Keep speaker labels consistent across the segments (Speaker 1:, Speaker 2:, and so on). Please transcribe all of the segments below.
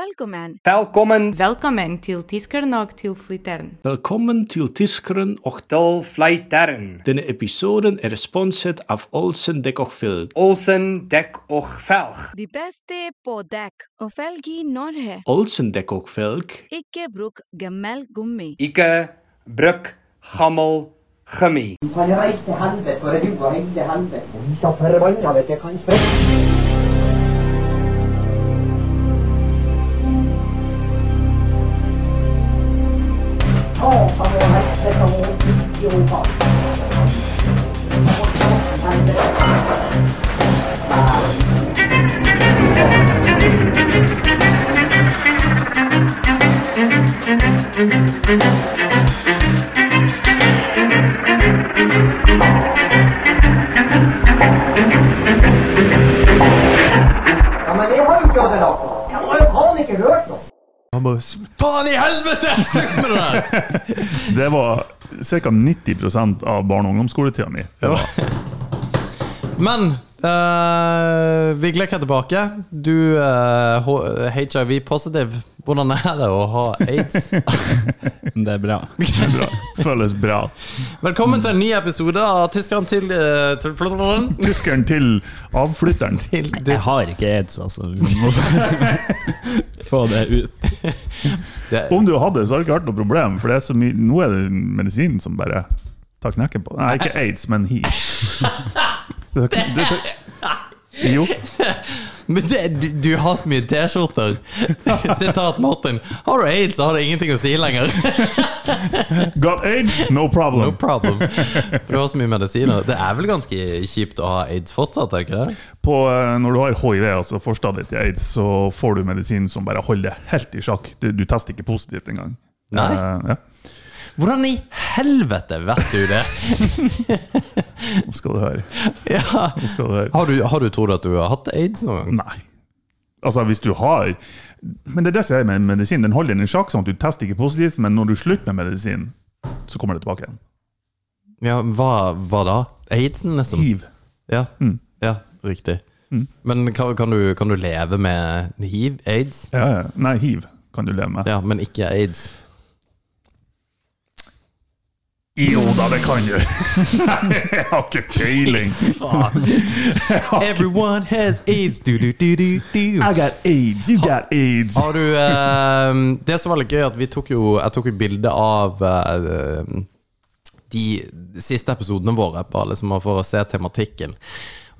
Speaker 1: Velkommen.
Speaker 2: Velkommen
Speaker 3: Velkommen til Tiskeren og til Flytteren.
Speaker 4: Velkommen til Tiskeren och
Speaker 2: til Flyteren.
Speaker 4: denna episoden är sponsrad av Olsen Däck och Felg.
Speaker 2: Olsen dek og velg.
Speaker 1: De beste på dekk og felg i Norge.
Speaker 4: Olsen Däck och Felg
Speaker 1: Ikke bruk gammel gummi.
Speaker 2: Ikke bruk gammel gummi.
Speaker 5: kan reise til helvete, for du har reist til helvete. Vi skal forbanna vet du, kanskje. Ja, men jeg har jo ikke hatt det nok. Jeg har jo faen ikke hørt noe.
Speaker 6: Han bare Faen i helvete! Slutt med det der!
Speaker 7: Det var ca. 90 av barne- og ungdomsskoletida mi.
Speaker 6: Ja. Men eh, Vigle er tilbake. Du eh, er HIV-positiv. Hvordan er det å ha aids?
Speaker 8: Det er bra.
Speaker 7: Bra. Føles bra.
Speaker 6: Velkommen til en ny episode av Tyskeren til eh, til-
Speaker 7: Tyskeren til avflytteren.
Speaker 6: til
Speaker 8: Jeg
Speaker 6: Tys-
Speaker 8: har ikke aids, altså. Vi må få det ut.
Speaker 7: Om du hadde, så har det ikke vært noe problem, for det er så mye, nå er det medisin som bare tar knekken på Nei, ikke aids, men hiv. Det, det, det- jo.
Speaker 6: Men det, du, du har så mye T-skjorter. Sitat Martin. Har du aids, så har det ingenting å si lenger.
Speaker 7: Got aids? No
Speaker 6: No
Speaker 7: problem.
Speaker 6: problem. For du har så mye medisiner. Det er vel ganske kjipt å ha aids fortsatt, er ikke det?
Speaker 7: På, eh, når du har hiv, altså forstadiet til aids, så får du medisin som bare holder det helt i sjakk. Du, du tester ikke positivt engang.
Speaker 6: Nei.
Speaker 7: Eh, ja.
Speaker 6: Hvordan i helvete vet du det?
Speaker 7: Nå skal du høre.
Speaker 6: ja.
Speaker 7: Nå skal du høre.
Speaker 6: har, du, har du trodd at du har hatt aids noen gang?
Speaker 7: Nei. Altså, hvis du har Men det er det som er med medisin. Den holder den i sjakk, sånn at du tester ikke positivt, men når du slutter med medisin, så kommer det tilbake igjen.
Speaker 6: Ja, hva, hva da? Aidsen, liksom?
Speaker 7: Hiv.
Speaker 6: Ja,
Speaker 7: Mm.
Speaker 6: ja riktig.
Speaker 7: Mm.
Speaker 6: Men kan, kan, du, kan du leve med hiv, aids?
Speaker 7: Ja, ja. Nei, hiv kan du leve med.
Speaker 6: Ja, men ikke aids.
Speaker 7: Jo da, det kan du! jeg har ikke peiling.
Speaker 6: Everyone has aids! Du, du, du, du, du.
Speaker 7: I got aids, you got aids.
Speaker 6: Har du eh, Det som var litt gøy, at vi tok jo Jeg tok jo bilde av eh, de siste episodene våre, bare liksom for å se tematikken.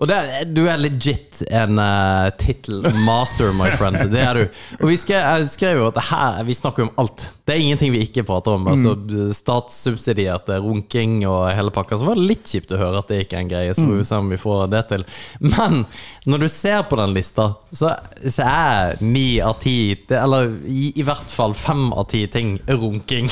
Speaker 6: Og det, er- du er legit en uh, tittelmaster, my friend. Det er du. Og vi skrev, jeg skrev jo at det her, vi snakker om alt. Det er ingenting vi ikke prater om. Altså Statssubsidierte runking og hele pakka. Så var det litt kjipt å høre at det ikke er en greie. Så får vi se om vi får det til. Men når du ser på den lista, så, så er ni av ti, det- eller i, i hvert fall fem av ti ting, runking.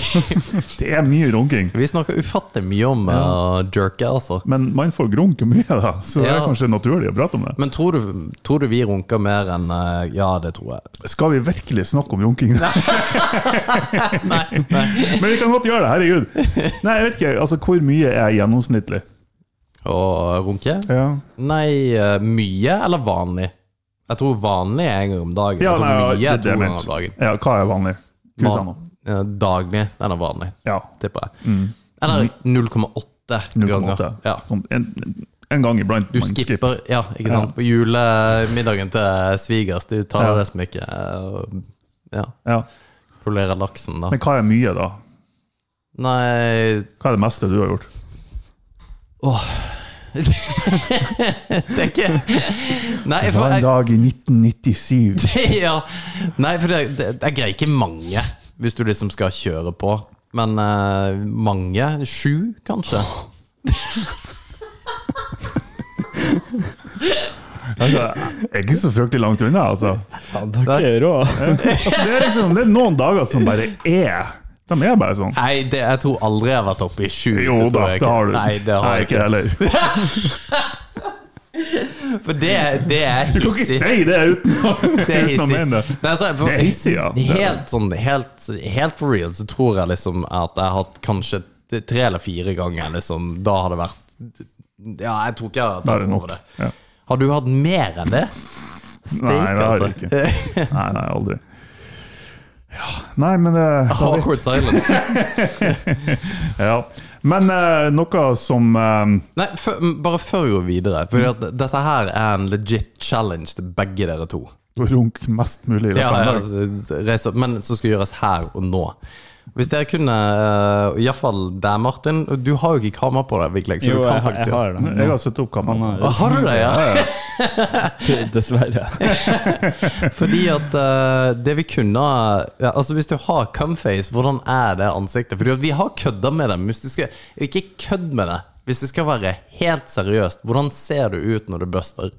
Speaker 7: Det er mye runking.
Speaker 6: Vi snakker ufattelig mye om uh, jerke, altså.
Speaker 7: Men man får grunke mye, da, så det er
Speaker 6: Ja.
Speaker 7: kanskje naturlig å prate om det.
Speaker 6: Men tror du, tror du vi runker mer enn eh, Ja, det tror jeg.
Speaker 7: Skal vi virkelig snakke om runking?
Speaker 6: Nei, nei.
Speaker 7: Men vi kan godt gjøre det, herregud. Nei, jeg vet ikke, altså Hvor mye er gjennomsnittlig? eh,
Speaker 6: Og runke?
Speaker 7: Ja,
Speaker 6: Nei, eh, mye eller vanlig? Jeg tror vanlig er en gang om dagen.
Speaker 7: ja
Speaker 6: jeg
Speaker 7: nei,
Speaker 6: tror mye
Speaker 7: ja, det
Speaker 6: er
Speaker 7: er
Speaker 6: to
Speaker 7: det jeg
Speaker 6: ganger om
Speaker 7: mener.
Speaker 6: dagen.
Speaker 7: Ja, hva er vanlig? Hva sa nå?
Speaker 6: Eh, Daglig. Den er vanlig,
Speaker 7: Ja.
Speaker 6: tipper jeg.
Speaker 7: Mm.
Speaker 6: Eller 0,8 ganger.
Speaker 7: 0,8.
Speaker 6: Ja.
Speaker 7: Sånn En, en gang iblant.
Speaker 6: Du
Speaker 7: man skipper.
Speaker 6: skipper Ja, ikke sant. På julemiddagen til svigers. Du tar
Speaker 7: Ja.
Speaker 6: det som ikke eh, Ja.
Speaker 7: Ja.
Speaker 6: Polerer laksen, da.
Speaker 7: Men hva er mye, da?
Speaker 6: Nei
Speaker 7: Hva er det meste du har gjort?
Speaker 6: Det er ikke Nei,
Speaker 7: Det
Speaker 6: for
Speaker 7: var en
Speaker 6: jeg,
Speaker 7: dag i 1997.
Speaker 6: ja. Nei, for det, det, jeg greier ikke mange, hvis du liksom skal kjøre på. Men eh, mange? Sju, kanskje?
Speaker 7: Altså, jeg er ikke så fryktelig langt unna, altså.
Speaker 8: Faen, dere er rå.
Speaker 7: altså det, er liksom, det er noen dager som bare er. De er bare sånn.
Speaker 6: Nei, det, jeg tror aldri jeg har vært oppe i sju.
Speaker 7: Jo
Speaker 6: det
Speaker 7: da,
Speaker 6: tror jeg
Speaker 7: det
Speaker 6: ikke.
Speaker 7: har du.
Speaker 6: Nei, det har
Speaker 7: Nei,
Speaker 6: jeg
Speaker 7: ikke
Speaker 6: ikke.
Speaker 7: heller.
Speaker 6: For det, det er
Speaker 7: Du kan ikke
Speaker 6: hissig.
Speaker 7: si det uten,
Speaker 6: Det er
Speaker 7: uten å mene det.
Speaker 6: hissig. Nei, altså, for-
Speaker 7: Det er hissig, ja. Det er det.
Speaker 6: Helt, sånn, helt, helt for real så tror jeg liksom at jeg har hatt kanskje tre eller fire ganger liksom, Da har det vært Ja, jeg tror ikke jeg har
Speaker 7: Da er
Speaker 6: tatt
Speaker 7: det
Speaker 6: over
Speaker 7: nok.
Speaker 6: det.
Speaker 7: Ja.
Speaker 6: Har du hatt mer enn det? Steak,
Speaker 7: Nei, det har jeg
Speaker 6: altså.
Speaker 7: ikke. Nei, nei, aldri. Nei, men eh, da vet-
Speaker 6: Awkward silence.
Speaker 7: ja. Men eh, noe som eh,
Speaker 6: Nei, før- m, bare før vi går videre, for at dette her er en legit challenge til begge dere to.
Speaker 7: Runk mest mulig.
Speaker 6: Ja,
Speaker 7: kan
Speaker 6: ja,
Speaker 7: være.
Speaker 6: altså, reis opp, men som skal gjøres her og nå. Hvis dere kunne, eh, i hvert fall deg, Martin Du har jo ikke kamera på deg, Vigleg, så
Speaker 8: Jo,
Speaker 6: du kan
Speaker 8: jeg, har-
Speaker 6: faktisk
Speaker 8: jeg har det.
Speaker 7: Jeg har satt opp
Speaker 8: Han
Speaker 7: kameraet.
Speaker 6: Ah, Har du det, ja?
Speaker 8: Dessverre.
Speaker 6: Fordi at eh, det vi kunne ja, Altså Hvis du har cumface, hvordan er det ansiktet? Fordi at vi har kødda med det. men Hvis du skal, ikke kødd med det. Hvis det skal være helt seriøst, hvordan ser du ut når du buster?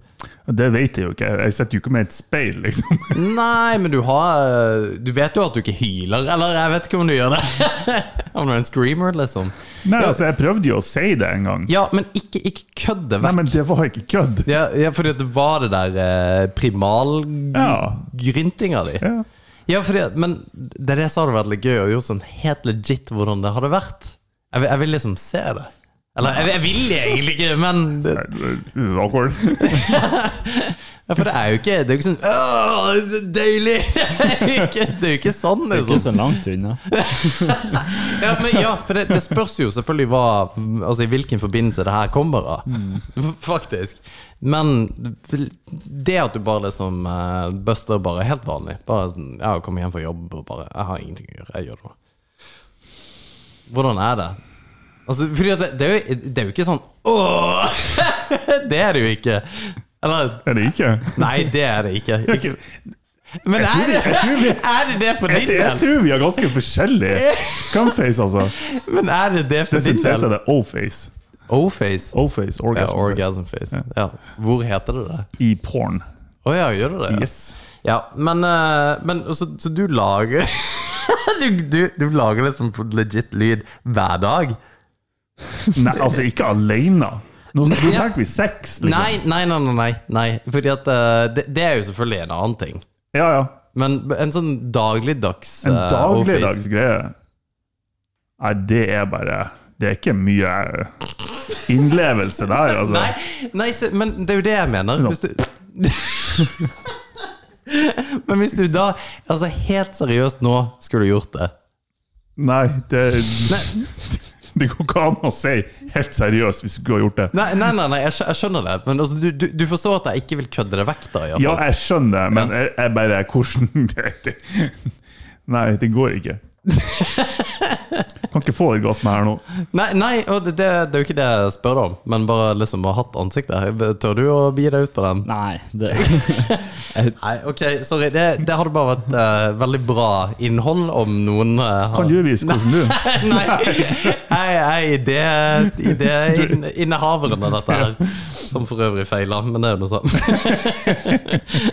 Speaker 7: Det vet jeg jo ikke. Jeg sitter jo ikke med et speil, liksom.
Speaker 6: Nei, men du har eh, Du vet jo at du ikke hyler, eller jeg vet ikke om du gjør det. om du er en screamer, liksom.
Speaker 7: Nei, altså, jeg prøvde jo å si det en gang.
Speaker 6: Ja, men ikke, ikke kødd det
Speaker 7: Nei,
Speaker 6: vekk.
Speaker 7: men det var ikke kødd.
Speaker 6: Ja, ja, fordi at det var det der eh,
Speaker 7: Ja.
Speaker 6: primalgryntinga di.
Speaker 7: Ja.
Speaker 6: Ja, fordi, at- men det er det jeg sa det hadde vært litt gøy å gjøre sånn helt legit hvordan det hadde vært. Jeg, vil- jeg vil liksom se det. Eller jeg, jeg vil egentlig ikke, men det,
Speaker 7: This is awkward.
Speaker 6: ja, For det er jo ikke Det er jo ikke sånn Åh, det er deilig! Det er jo ikke, det er jo ikke sånn,
Speaker 8: Det er ikke
Speaker 6: liksom.
Speaker 8: så langt unna.
Speaker 6: Ja, men ja, for det, det spørs jo selvfølgelig hva Altså i hvilken forbindelse det her kommer av.
Speaker 7: Mm.
Speaker 6: Faktisk. Men det at du bare liksom eh, buster bare helt vanlig Bare sånn Ja, jeg kommer hjem fra jobb og bare Jeg har ingenting å gjøre. Jeg gjør det nå. Hvordan er det? Altså, fordi at det, det, er jo, det er jo ikke sånn Åh! Det er det jo ikke. Eller
Speaker 7: Er det ikke?
Speaker 6: Nei, det er det ikke.
Speaker 7: Jeg,
Speaker 6: ikke
Speaker 7: tror-
Speaker 6: men er det,
Speaker 7: jeg tror vi-
Speaker 6: er det det for
Speaker 7: jeg,
Speaker 6: din
Speaker 7: jeg
Speaker 6: del?
Speaker 7: tror vi er ganske forskjellige. Cumface, altså.
Speaker 6: Men er det det for din
Speaker 7: Dessuten
Speaker 6: del?
Speaker 7: heter det O-face.
Speaker 6: O-face.
Speaker 7: O-face,
Speaker 6: Ja,
Speaker 7: orgasm,
Speaker 6: orgasm face. Ja. Hvor heter det det?
Speaker 7: I porn.
Speaker 6: Å ja, gjør det det? ja?
Speaker 7: Yes.
Speaker 6: Ja, men, eh, men så, så du lager du, du, du lager liksom legit lyd hver dag?
Speaker 7: Nei, altså ikke alene. Nå nå
Speaker 6: Ja.
Speaker 7: tenker vi sex. Liksom.
Speaker 6: Nei, nei, nei, nei, nei, nei. Fordi at eh, det, det er jo selvfølgelig en annen ting.
Speaker 7: Ja, ja.
Speaker 6: Men en sånn dagligdags
Speaker 7: En
Speaker 6: eh,
Speaker 7: dagligdags
Speaker 6: O-face.
Speaker 7: greie. Nei, det er bare Det er ikke mye innlevelse der, altså.
Speaker 6: Nei, nei, se- men det er jo det jeg mener. Hvis du Men hvis du da Altså, helt seriøst nå skulle du gjort det.
Speaker 7: Nei, det,
Speaker 6: Nei.
Speaker 7: det går ikke an å si helt seriøst hvis du skulle ha gjort det.
Speaker 6: Nei, nei, nei, nei jeg, skj- jeg skjønner det. Men altså, du, du, du forstår at jeg ikke vil kødde det vekk, da? i hvert
Speaker 7: Ja,
Speaker 6: fall.
Speaker 7: jeg skjønner, men jeg, jeg bare Hvordan det, det. Nei, det går ikke. Kan ikke få orgasme her nå.
Speaker 6: Nei, nei og det, det, det er jo ikke det jeg spør om, men bare liksom å ha hatt ansiktet. Tør du å bie deg ut på den?
Speaker 8: Nei, det
Speaker 6: Nei, ok, sorry. Det, det hadde bare vært eh, veldig bra innhold om noen eh, har
Speaker 7: Kan du vise hvordan du
Speaker 6: Nei, jeg er idé- idéinnehaveren av dette her. Som for øvrig feila, men det er jo noe sånt.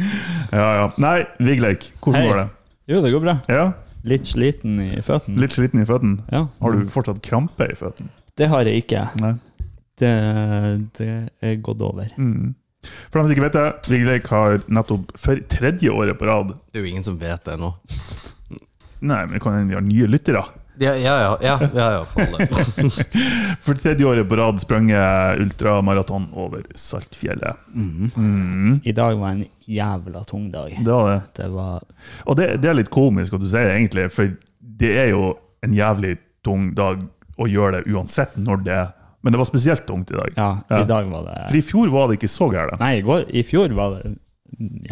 Speaker 7: Ja, ja. Nei, Vigleik, hvordan
Speaker 8: Hei.
Speaker 7: går det?
Speaker 8: Jo, det går bra.
Speaker 7: Ja,
Speaker 8: Litt sliten i føttene.
Speaker 7: Litt sliten i føttene?
Speaker 8: Ja.
Speaker 7: Har du fortsatt krampe i føttene?
Speaker 8: Det har jeg ikke.
Speaker 7: Nei.
Speaker 8: Det, det er gått over.
Speaker 7: For dem som ikke vet det, Vigleik har nettopp for tredje året på rad
Speaker 6: Det er jo ingen som vet det ennå.
Speaker 7: Nei, men det kan hende vi har nye lyttere.
Speaker 6: Ja, ja, ja. ja, ja, ja for alle.
Speaker 7: For tredje året på rad sprunget ultramaraton over Saltfjellet.
Speaker 8: I dag var en jævla tung dag.
Speaker 7: Det var det.
Speaker 8: Det var
Speaker 7: Og det, det er litt komisk at du sier det, egentlig, for det er jo en jævlig tung dag å gjøre det uansett når det er. Men det var spesielt tungt i dag.
Speaker 8: Ja,
Speaker 7: Ja.
Speaker 8: i dag var det
Speaker 7: For i fjor var det ikke så gærent.
Speaker 8: Nei, i, går, i fjor var det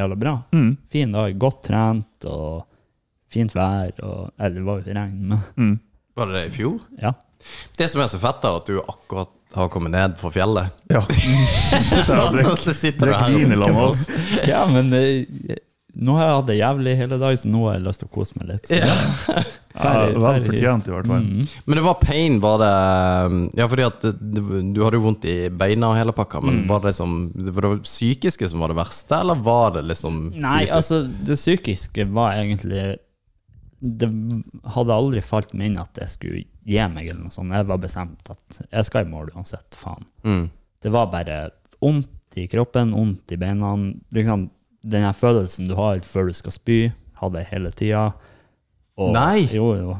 Speaker 8: jævla bra.
Speaker 7: Mm.
Speaker 8: Fin dag, godt trent og fint vær. Og, eller det var jo regn, men
Speaker 6: Var det det i fjor?
Speaker 8: ja.
Speaker 6: Det som er så fett, er at du akkurat har kommet ned fra fjellet.
Speaker 7: Ja. Sitter her og drikker-
Speaker 6: Så sitter du
Speaker 7: drikker
Speaker 6: her
Speaker 7: vin i lag med oss.
Speaker 8: ja, men eh, nå har jeg hatt det jævlig hele dag, så nå har jeg lyst til å kose meg litt. Så
Speaker 7: Ja,
Speaker 8: ferdig-
Speaker 7: Vel
Speaker 8: ferdig. Mm.
Speaker 7: fortjent, i hvert fall.
Speaker 6: Men det var pain, var det Ja, fordi at du, du hadde jo vondt i beina og hele pakka, men
Speaker 7: Mm.
Speaker 6: var det liksom Var det psykiske som var det verste, eller var det liksom
Speaker 8: Nei,
Speaker 6: fysisk?
Speaker 8: altså, det psykiske var egentlig Det hadde aldri falt meg inn at jeg skulle gi meg, eller noe sånt. Jeg var bestemt at jeg skal i mål uansett, faen.
Speaker 6: Mm.
Speaker 8: Det var bare vondt i kroppen, vondt i beina. Liksom, den her følelsen du har før du skal spy, hadde jeg hele tida. Og-
Speaker 6: Nei!
Speaker 8: Jo, jo.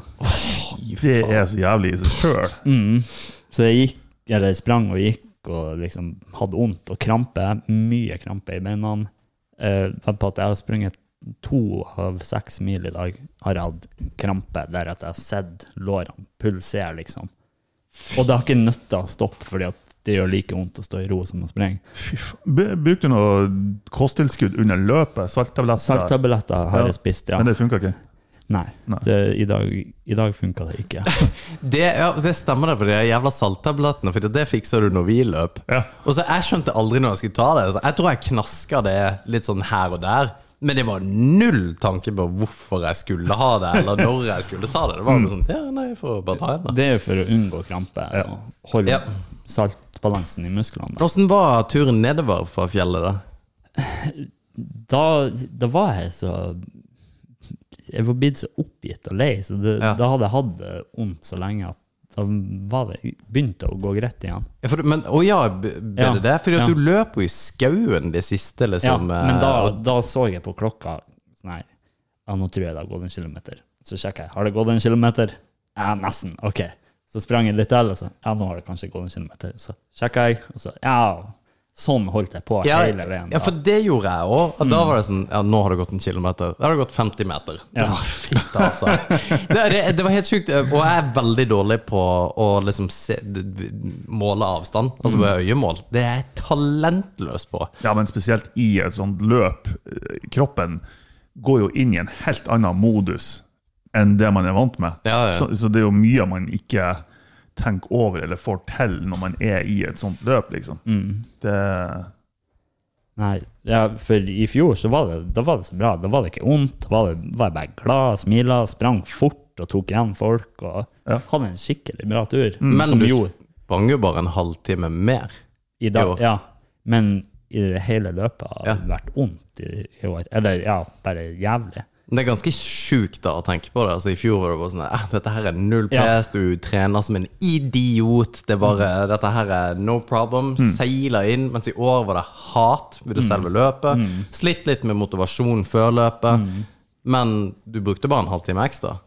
Speaker 7: Det er så jævlig i seg sjøl.
Speaker 8: Mm. Så jeg gikk, eller jeg sprang og gikk og liksom hadde vondt og krampe. Mye krampe i beina. Eh, på at jeg har sprunget to av seks mil i dag har jeg hatt krampe der at jeg har sett lårene pulsere, liksom. Og det har ikke nytta å stoppe, fordi at det gjør like vondt å stå i ro som å springe.
Speaker 7: B- Brukte du noe kosttilskudd under løpet? Salttabletter?
Speaker 8: Saltabletter har
Speaker 7: Ja,
Speaker 8: jeg spist, ja.
Speaker 7: Men det funka ikke?
Speaker 8: Nei,
Speaker 7: Nei.
Speaker 8: det, i dag, i dag funka det ikke.
Speaker 6: Det, ja, det stemmer, det, for de jævla salttablettene. For det fiksa du når vi løp.
Speaker 7: Ja.
Speaker 6: Og så Jeg skjønte aldri når jeg skulle ta det. Så jeg tror jeg knaska det litt sånn her og der. Men det var null tanke på hvorfor jeg skulle ha det, eller når jeg skulle ta det. Det
Speaker 8: Mm.
Speaker 6: var bare sånn, ja, nei, jeg får bare ta en da
Speaker 8: Det er jo for å unngå krampe og holde
Speaker 6: Ja.
Speaker 8: saltbalansen i musklene.
Speaker 6: Åssen var turen nedover fra fjellet, da?
Speaker 8: da, da var jeg så Jeg var blitt så oppgitt og lei, så det,
Speaker 6: Ja.
Speaker 8: da hadde jeg hatt det vondt så lenge at da var det, begynte det å gå greit igjen.
Speaker 6: Ja, for, men, å ja, b- ble
Speaker 8: Ja,
Speaker 6: det det? Fordi at
Speaker 8: ja.
Speaker 6: du løp jo i skauen de siste,
Speaker 8: Ja,
Speaker 6: liksom. eh,
Speaker 8: men da,
Speaker 6: og-
Speaker 8: da så jeg på klokka sånn her Ja, nå tror jeg det har gått en kilometer. Så sjekker jeg. Har det gått en kilometer? Ja, nesten. Ok. Så sprang jeg litt til, og så Ja, nå har det kanskje gått en kilometer. Så sjekker jeg, og så Ja. Sånn holdt jeg på
Speaker 6: ja,
Speaker 8: hele veien.
Speaker 6: ja, for
Speaker 8: da. Mm.
Speaker 6: det gjorde jeg òg. Da var det sånn Ja, nå har det gått en kilometer. Da har det gått 50 meter. Det
Speaker 8: Ja.
Speaker 6: var fint, altså. Det, det, det var helt sjukt. Og jeg er veldig dårlig på å liksom se, måle avstand.
Speaker 8: Mm.
Speaker 6: Altså med øyemål. Det er jeg talentløs på.
Speaker 7: Ja, men spesielt i et sånt løp. eh, Kroppen går jo inn i en helt annen modus enn det man er vant med.
Speaker 6: Ja, ja.
Speaker 7: Så, så det er jo mye man ikke tenker over eller får til når man er i et sånt løp, liksom.
Speaker 8: Mm.
Speaker 7: Det,
Speaker 8: Nei, ja, for i fjor så var det, da var det så bra. Da var det ikke vondt. Da var, det, var jeg bare glad, smila, sprang fort og tok igjen folk. Og
Speaker 7: Ja. Mm.
Speaker 8: Hadde en skikkelig bra tur.
Speaker 6: Men
Speaker 8: Mm, som
Speaker 6: du
Speaker 8: gjorde
Speaker 6: sprang jo bare en halvtime mer.
Speaker 8: i dag,
Speaker 6: jo.
Speaker 8: ja. Men i det hele løpet har det
Speaker 6: Ja.
Speaker 8: vært vondt i, i år. Eller ja, bare jævlig.
Speaker 6: Det er ganske sjukt da å tenke på det. Altså I fjor var det bare sånn eh, Dette her er null
Speaker 8: Ja.
Speaker 6: pes, du trener som en idiot. Det er bare Dette her er no problem. Seiler inn. Mens i år var det hat ved det selve løpet. Slitt litt med motivasjon før løpet. Men du brukte bare en halvtime ekstra.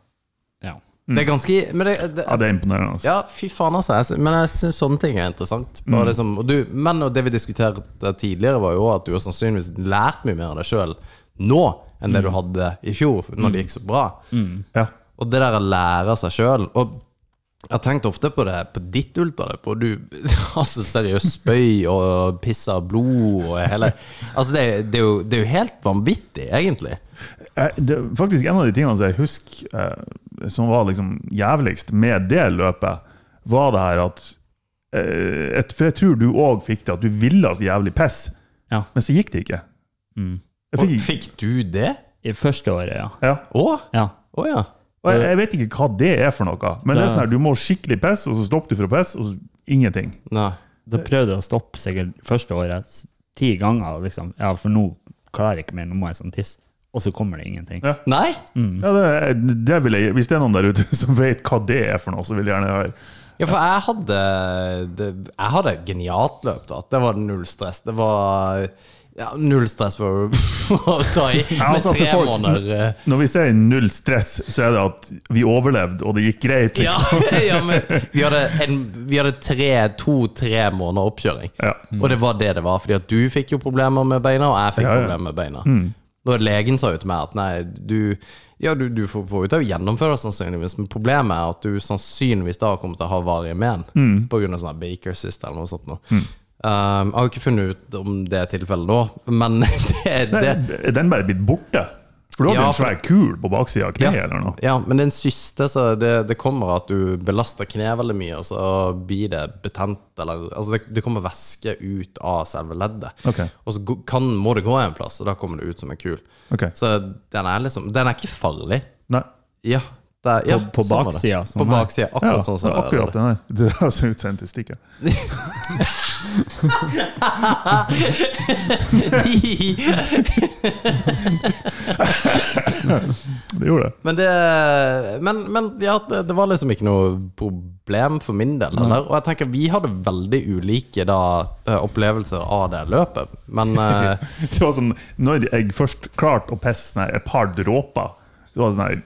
Speaker 8: Ja.
Speaker 6: Det er ganske men det, det,
Speaker 7: ja, det er imponerende. Altså.
Speaker 6: ja, fy faen, altså. Jeg, sy- men jeg syns sånne ting er interessant. Bare
Speaker 7: Mm.
Speaker 6: liksom, og du, men og det vi diskuterte tidligere, var jo at du har sannsynligvis lært mye mer av deg sjøl nå enn
Speaker 7: Mm.
Speaker 6: det du hadde i fjor, når det gikk så bra.
Speaker 7: Ja.
Speaker 6: Og det der å lære seg sjøl Og jeg har tenkt ofte på det på ditt ultraløp, og du altså seriøst spøy og pisser blod og hele Altså, det, det, er jo, det er jo helt vanvittig, egentlig.
Speaker 7: Eh, Det er faktisk en av de tingene som jeg husker eh, som var liksom jævligst med det løpet, var det her at eh, et, For jeg tror du òg fikk det, at du ville så jævlig piss,
Speaker 8: Ja.
Speaker 7: men så gikk det ikke. Jeg
Speaker 6: Og
Speaker 7: fikk,
Speaker 6: fikk du det?
Speaker 8: I første året, ja.
Speaker 7: ja.
Speaker 6: Å?
Speaker 8: ja.
Speaker 6: Å ja.
Speaker 7: Og jeg, jeg vet ikke hva det er for noe, men det er sånn her, du må skikkelig pisse, og så stopper du for å pisse, og så ingenting.
Speaker 6: Nei.
Speaker 8: Da prøvde jeg å stoppe sikkert første året s- ti ganger, og liksom. Ja, for nå klarer jeg ikke mer, nå må jeg sånn tisse. Og så kommer det ingenting.
Speaker 7: Ja.
Speaker 6: Nei?
Speaker 7: Ja, det, det vil jeg, hvis det er noen der ute som vet hva det er for noe, så vil jeg gjerne høre.
Speaker 6: Ja, for jeg hadde det, Jeg hadde et genialt løp da Det var null stress Det var ja, null stress for å ta i
Speaker 7: Ja,
Speaker 6: Med
Speaker 7: altså,
Speaker 6: tre
Speaker 7: for folk-
Speaker 6: måneder eh.
Speaker 7: Når vi sier null stress, så er det at vi overlevde, og det gikk greit.
Speaker 6: ja,
Speaker 7: Liksom.
Speaker 6: ja, men vi hadde, en, vi hadde tre, to-tre måneder oppkjøring
Speaker 7: Ja.
Speaker 6: Og det var det det var Fordi at du fikk jo problemer med beina Og jeg fikk
Speaker 7: Ja, Mm. ja.
Speaker 6: problemer med beina Når legen sa jo til meg at Nei, du, ja, du, du får, får jo til å gjennomføre det sannsynligvis Men problemet er at du sannsynligvis da kommer til å ha varige men
Speaker 7: Mm.
Speaker 6: På grunn av sånn her Baker cyst eller noe sånt nå. Um, jeg har jo ikke funnet ut om det er tilfellet nå Men det, det,
Speaker 7: Er den bare blitt borte? For du hadde
Speaker 6: Ja,
Speaker 7: en svær kul på baksida av kneet eller noe.
Speaker 6: ja, men det er en syste, så det, det kommer at du belaster kneet veldig mye, og så blir det betent. Eller, altså det, det kommer væske ut av selve leddet.
Speaker 7: Ok.
Speaker 6: Og så gå- kan, må det gå en plass, og da kommer det ut som en kul.
Speaker 7: Ok.
Speaker 6: Så den er liksom Den er ikke farlig.
Speaker 7: Nei.
Speaker 6: Ja. Det, ja
Speaker 8: på
Speaker 6: sånn var det.
Speaker 8: baksida, sånn
Speaker 6: På
Speaker 8: her.
Speaker 6: baksida,
Speaker 7: Ja,
Speaker 6: akkurat sånn som jeg
Speaker 7: akkurat den der. Det altså høres ut som en testikkel.
Speaker 6: hadde det.
Speaker 7: Det gjorde det.
Speaker 6: men det Men, men ja, det, det var liksom ikke noe problem for min del. Eller? Og jeg tenker vi hadde veldig ulike da, eh, opplevelser av det løpet, men eh,
Speaker 7: Det var sånn, når jeg først klarte å pisse sånn her et par dråper, så var det sånn her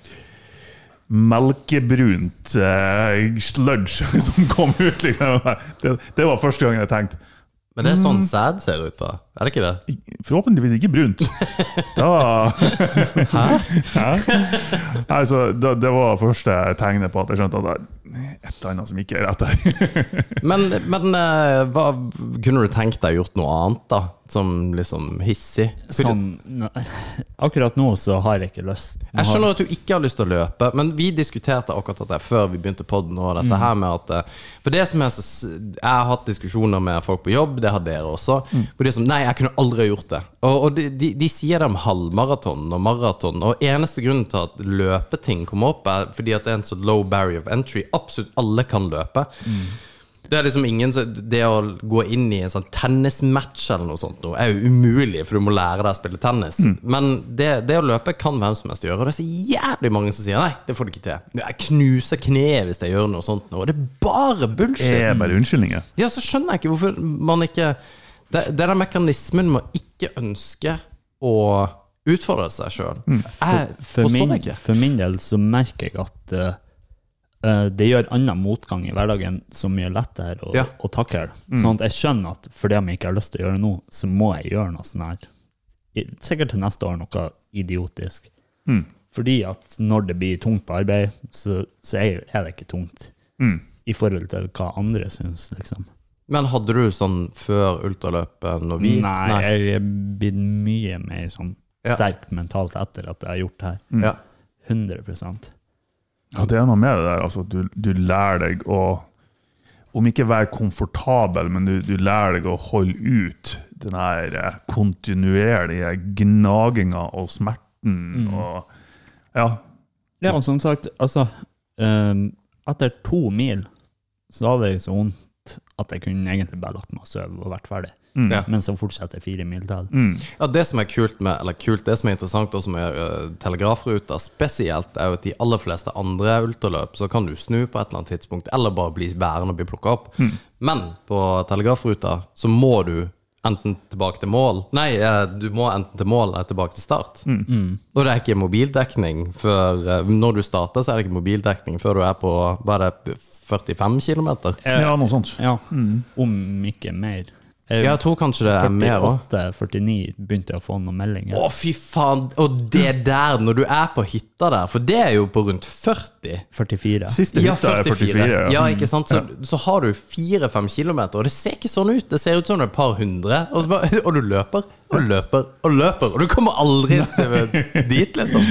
Speaker 7: Melkebrunt eh, sludge som kom ut, liksom. Det, det var første gang jeg tenkte
Speaker 6: Men det er sånn sæd ser ut, da. Er det ikke det?
Speaker 7: Forhåpentligvis ikke brunt. Da Hæ? Nei, så da, det var første tegnet på at jeg skjønte at det er et eller annet som ikke er rett her.
Speaker 6: Men, men eh, hva, kunne du tenkt deg gjort noe annet, da? Som liksom hissig?
Speaker 8: Som, Sånn, nå- akkurat nå så har jeg ikke lyst. Nå
Speaker 6: Jeg
Speaker 8: har-
Speaker 6: skjønner at du ikke har lyst til å løpe, men vi diskuterte akkurat dette før vi begynte podden. Og
Speaker 8: Mm.
Speaker 6: dette her med at eh, For det som er så s- Jeg har hatt diskusjoner med folk på jobb, det har dere også.
Speaker 8: Mm.
Speaker 6: Hvor de er som Nei, jeg kunne aldri ha gjort det. Og, og de, de, de sier det om halvmaraton og maraton. Og eneste grunnen til at løpeting kommer opp, er fordi at det er en så low barrier of entry. Absolutt alle kan løpe.
Speaker 8: Mm.
Speaker 6: Det er liksom ingen som- Det å gå inn i en sånn tennismatch eller noe sånt nå, er jo umulig, for du må lære deg å spille tennis.
Speaker 8: Mm.
Speaker 6: Men det, det å løpe kan hvem som helst gjøre, og det er så jævlig mange som sier nei, det får du ikke til. Jeg knuser kneet hvis jeg gjør noe sånt nå, og det er bare
Speaker 7: Det
Speaker 6: bullshit.
Speaker 7: er bare unnskyldninger.
Speaker 6: Ja, så skjønner jeg ikke hvorfor man ikke Det, det er den mekanismen med å ikke ønske å utfordre seg sjøl. Jeg
Speaker 8: Mm. for,
Speaker 6: forstår
Speaker 8: min,
Speaker 6: det ikke.
Speaker 8: for min del så merker jeg at eh, eh, det gjør annen motgang i hverdagen så mye lettere å,
Speaker 6: Ja. Mm.
Speaker 8: å takle. Sånn at jeg skjønner at fordi om jeg ikke har lyst til å gjøre det nå, så må jeg gjøre noe sånn her. I- Sikkert til neste år noe idiotisk.
Speaker 6: Mm.
Speaker 8: Fordi at når det blir tungt på arbeid, så, så er jo- er det ikke tungt
Speaker 6: Mm.
Speaker 8: i forhold til hva andre syns, liksom.
Speaker 6: Men hadde du sånn før ultraløpet når vi
Speaker 8: Nei, jeg er blitt mye mer sånn
Speaker 6: Ja.
Speaker 8: sterk mentalt etter at jeg har gjort det her.
Speaker 6: Ja.
Speaker 8: 100
Speaker 7: Ja, det er noe med det der. Altså, du, du lærer deg å Om ikke være komfortabel, men du, du lærer deg å holde ut den her eh, kontinuerlige gnaginga og smerten og Ja.
Speaker 8: Ja, og som sagt, altså ehm, Etter to mil så hadde jeg så vondt at jeg kunne egentlig bare lagt meg og sove og vært ferdig.
Speaker 6: Ja.
Speaker 8: Men så fortsetter jeg fire mil til.
Speaker 6: Ja, Det som er kult med, eller kult, det som er interessant, og som er uh, telegrafruter spesielt, er jo at de aller fleste andre ultraløp så kan du snu på et eller annet tidspunkt, eller bare bli værende og bli plukka opp. Men på telegrafruta så må du enten tilbake til mål Nei, eh, du må enten til mål eller tilbake til start. Og det er ikke mobildekning før eh, Når du starter, så er det ikke mobildekning før du er på hva er det, 45 km?
Speaker 7: Ja, noe sånt.
Speaker 8: Ja, om ikke mer. Jeg,
Speaker 6: Jeg tror kanskje det er mer òg.
Speaker 8: 48-49 begynte jeg å få noen meldinger.
Speaker 6: Å, fy faen! Og det der, når du er på hytta der, for det er jo på rundt 40.
Speaker 8: 44.
Speaker 7: Siste hytta er 44.
Speaker 6: Ja.
Speaker 7: Ja.
Speaker 6: ikke sant? Så, så har du 4-5 kilometer, og det ser ikke sånn ut. Det ser ut som det er et par hundre, og, så bare, og du løper og løper og løper. Og du kommer aldri til- dit, liksom.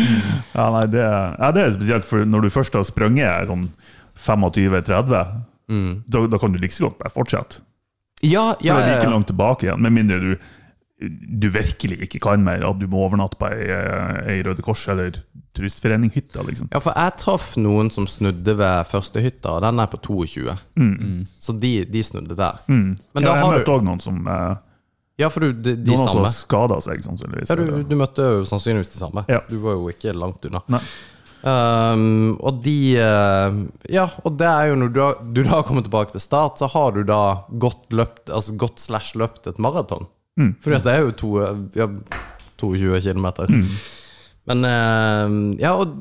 Speaker 7: Ja, nei, det, er- ja, det er spesielt, for når du først har sprunget sånn 25-30, da, da kan du like så godt bare fortsette.
Speaker 6: Ja, Mm.
Speaker 7: For
Speaker 6: ja,
Speaker 7: det er
Speaker 6: ja,
Speaker 7: like
Speaker 6: ja.
Speaker 7: langt tilbake igjen, med mindre du, du virkelig ikke kan mer, at du må overnatte på ei, ei Røde Kors eller turistforeninghytte. Liksom.
Speaker 6: Ja, for jeg traff noen som snudde ved første hytta, og den er på 22. Så de, de snudde der. Men da
Speaker 7: Mm. Ja, jeg
Speaker 6: har
Speaker 7: møtte
Speaker 6: du
Speaker 7: òg noen som eh,
Speaker 6: Ja, for du, de, de
Speaker 7: noen som
Speaker 6: samme.
Speaker 7: har skada seg, sånn sannsynligvis.
Speaker 6: Ja, du, du møtte jo sannsynligvis de samme.
Speaker 7: Ja.
Speaker 6: Du var jo ikke langt unna.
Speaker 7: Nei.
Speaker 6: Ehm, og de eh, Ja, og det er jo når du, da- du da kommer tilbake til start, så har du da gått løpt Altså gått slash løpt et maraton.
Speaker 7: Mm.
Speaker 6: Fordi at det er jo to, ja, 22 km.
Speaker 7: Mm.
Speaker 6: Men eh, Ja, og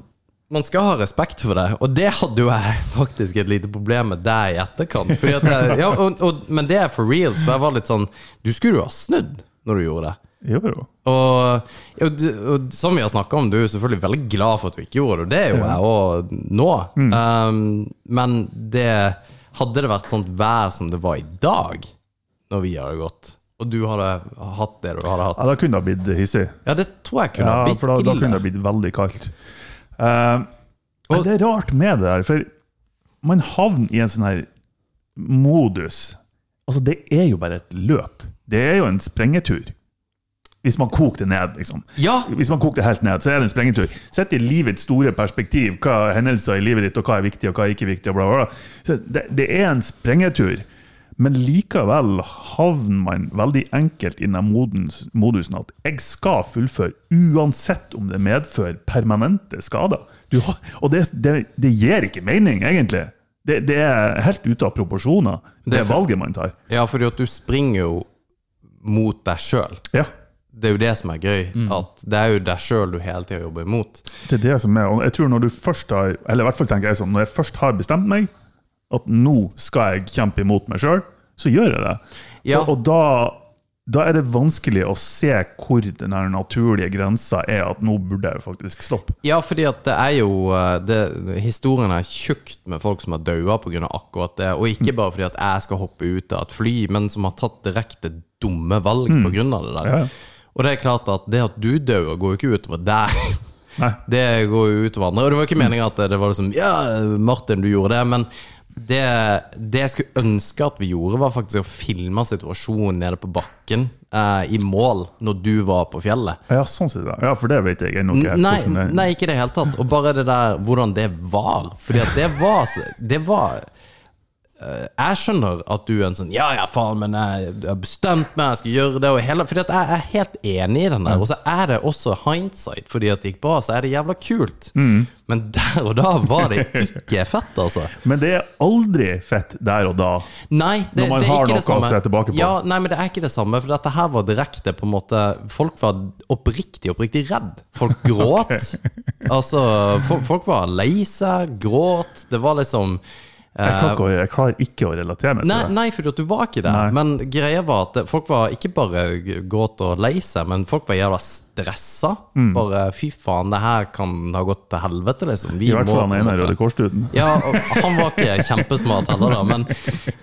Speaker 6: man skal ha respekt for det, og det hadde jo jeg faktisk et lite problem med deg i etterkant. Fordi at jeg, ja, og, og, men det er for reals, for jeg var litt sånn Du skulle jo ha snudd når du gjorde det.
Speaker 7: Jo, jo.
Speaker 6: Og, og, du- og som vi har snakka om, du er jo selvfølgelig veldig glad for at du ikke gjorde det, og det er jo jeg òg nå.
Speaker 7: Mm.
Speaker 6: Um, men det hadde det vært sånt vær som det var i dag, når vi hadde gått, og du hadde hatt det du hadde
Speaker 7: Ja,
Speaker 6: hatt
Speaker 7: da kunne det ha blitt hissig.
Speaker 6: Ja, det tror jeg kunne
Speaker 7: Ja,
Speaker 6: ha blitt
Speaker 7: for da, da kunne
Speaker 6: ille.
Speaker 7: det ha blitt veldig kaldt. Eh,
Speaker 6: Og-
Speaker 7: det er rart med det der, for man havner i en sånn her modus. Altså, det er jo bare et løp. Det er jo en sprengetur. Hvis man koker det ned, liksom.
Speaker 6: Ja.
Speaker 7: Hvis man koker det helt ned, så er det en sprengetur. Sett i livets store perspektiv, hva er hendelser i livet ditt, og hva er viktig, og hva er ikke viktig, og bla, bla, bla. Så det, det er en sprengetur. Men likevel havner man veldig enkelt i den modens, modusen at jeg skal fullføre, uansett om det medfører permanente skader. Du, har- og det, det, det gir ikke mening, egentlig. Det, det er helt ute av proporsjoner, det,
Speaker 6: Det er for-
Speaker 7: valget man tar.
Speaker 6: Ja, fordi at du springer jo mot deg sjøl.
Speaker 7: Ja,
Speaker 6: Det er jo det som er gøy.
Speaker 7: Mm.
Speaker 6: At det er jo deg sjøl du hele tida jobber imot.
Speaker 7: det er det som er. Og jeg tror når du først har, eller i hvert fall tenker jeg sånn, når jeg først har bestemt meg, at nå skal jeg kjempe imot meg sjøl, så gjør jeg det.
Speaker 6: Ja.
Speaker 7: Og, og da, da er det vanskelig å se hvor den her naturlige grensa er at nå burde jeg faktisk stoppe.
Speaker 6: Ja, fordi at det er jo eh, det, Historien er tjukt med folk som har daua pga. akkurat det. Og
Speaker 7: Mm.
Speaker 6: ikke bare fordi at jeg skal hoppe ut av et fly, men som har tatt direkte dumme valg på pga. det der.
Speaker 7: Mm. Ja, ja.
Speaker 6: Og det er klart at det at du dauer, går jo ikke utover deg. Det går jo utover andre. Og det var ikke meninga at det var liksom Ja, Martin, du gjorde det. Men det, det jeg skulle ønske at vi gjorde, var faktisk å filme situasjonen nede på bakken eh, i mål, når du var på fjellet.
Speaker 7: Ja, sånn sett, ja. ja, for det vet jeg ennå ikke helt. sånn
Speaker 6: Nei,
Speaker 7: hvordan det-
Speaker 6: nei, ikke i det hele tatt. Og bare det der hvordan det var. Fordi at det var så- Det var eh, Jeg skjønner at du er en sånn Ja, ja, faen, men jeg jeg har bestemt meg, jeg skal gjøre det. Og hele, fordi at jeg er helt enig i den der. Og så er det også hindsight. Fordi at det gikk bra, så er det jævla kult.
Speaker 7: Mm.
Speaker 6: Men der og da var det ikke fett, altså.
Speaker 7: Men det er aldri fett der og da.
Speaker 6: Nei, det,
Speaker 7: Når man
Speaker 6: det er
Speaker 7: har
Speaker 6: ikke
Speaker 7: noe
Speaker 6: det samme.
Speaker 7: å se tilbake på.
Speaker 6: Ja, nei, men det er ikke det samme, for dette her var direkte på en måte Folk var oppriktig, oppriktig redd. Folk gråt. Altså, folk, folk var lei seg, gråt. Det var liksom
Speaker 7: Jeg, kan ikke, å- jeg klarer ikke å relatere meg
Speaker 6: Nei,
Speaker 7: til det.
Speaker 6: nei for du var ikke det.
Speaker 7: Nei.
Speaker 6: Men greia var at folk var ikke bare gråt og lei seg, men folk var jævla stressa.
Speaker 7: Mm.
Speaker 6: Bare fy faen, det her kan ha gått til helvete, liksom. Vi
Speaker 7: I hvert fall
Speaker 6: må-
Speaker 7: han ene Røde Kors-duden.
Speaker 6: ja, og han var ikke kjempesmart heller, da. Men,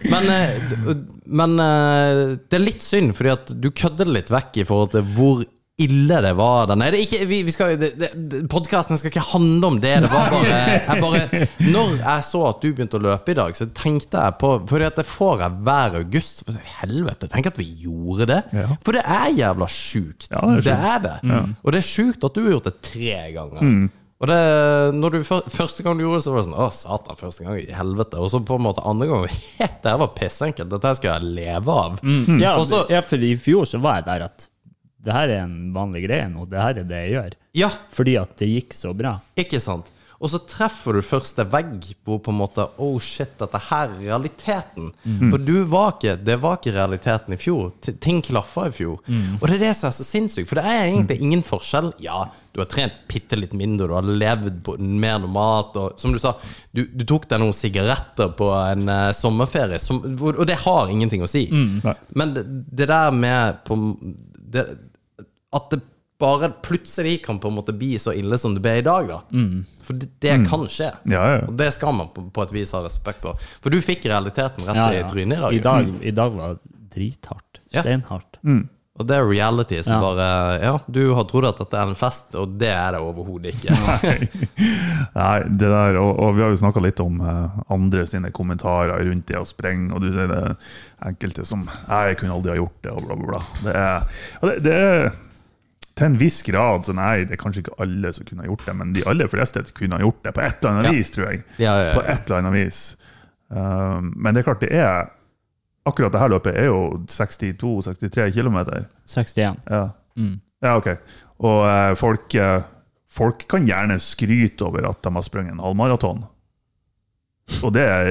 Speaker 6: men, eh, men eh, det er litt synd, fordi at du kødder det litt vekk i forhold til hvor ille det var. Den. Nei, det er ikke, vi, vi skal, det, det, podcasten skal ikke handle om det. Det var bare, jeg bare Når jeg så at du begynte å løpe i dag, så tenkte jeg på Fordi at det får jeg hver august. Så bare, Helvete, tenk at vi gjorde det!
Speaker 7: Ja.
Speaker 6: For det er jævla sjukt.
Speaker 7: Ja, det er
Speaker 6: det
Speaker 7: sjukt.
Speaker 6: er det. Og det er sjukt at du har gjort det tre ganger. Og det, når du, fyr- Første gang du gjorde det, så var det sånn Å, satan, første gang i helvete. Og så på en måte andre gang Det her var pissenkelt. Dette her skal jeg leve av.
Speaker 8: Ja, altså,
Speaker 6: Og så-
Speaker 8: ja, for i fjor så var jeg der at det her er en vanlig greie nå. Det her er det jeg gjør.
Speaker 6: Ja,
Speaker 8: Fordi at det gikk så bra.
Speaker 6: ikke sant? Og så treffer du første vegg hvor på en måte Oh shit, dette her er realiteten. For du var ikke, det var ikke realiteten i fjor. T ting klaffa i fjor. Og det er det som er så sinnssykt, for det er egentlig ingen forskjell. Ja, du har trent bitte litt mindre, du har levd på mer normalt, og som du sa, du, du tok deg noen sigaretter på en eh, sommerferie, som, hvor, og det har ingenting å si.
Speaker 7: Nei.
Speaker 6: Men det, det der med på, det, At det bare plutselig kan på en måte bli så ille som det ble i dag, da. For det, det kan skje.
Speaker 7: Ja, ja, ja.
Speaker 6: Og det skal man på, på et vis ha respekt på. For du fikk realiteten rett
Speaker 8: Ja,
Speaker 6: i
Speaker 8: ja.
Speaker 6: trynet i dag.
Speaker 8: I
Speaker 6: jo.
Speaker 8: dag, i dag var det drithardt.
Speaker 6: Ja.
Speaker 8: Steinhardt.
Speaker 6: Og det er reality som
Speaker 8: Ja.
Speaker 6: bare Ja, du har trodd at dette er en fest, og det er det overhodet ikke.
Speaker 7: Nei, det der, og, og vi har jo snakka litt om eh, andre sine kommentarer rundt det å sprenge, og du sier det er enkelte som «Nei, 'Jeg kunne aldri ha gjort det', og bla, bla, bla. Det er, og det, det er til en viss grad så nei, det er kanskje ikke alle som kunne ha gjort det, men de aller fleste kunne ha gjort det på et eller annet
Speaker 6: Ja.
Speaker 7: vis, tror jeg.
Speaker 6: Ja, ja, ja.
Speaker 7: På et eller annet vis. Um, men det er klart, det er Akkurat det her løpet er jo 62-63 km.
Speaker 8: 61.
Speaker 7: Ja.
Speaker 6: Mm.
Speaker 7: ja, ok. Og eh, folk, eh, folk kan gjerne skryte over at de har sprunget en halvmaraton. Og det er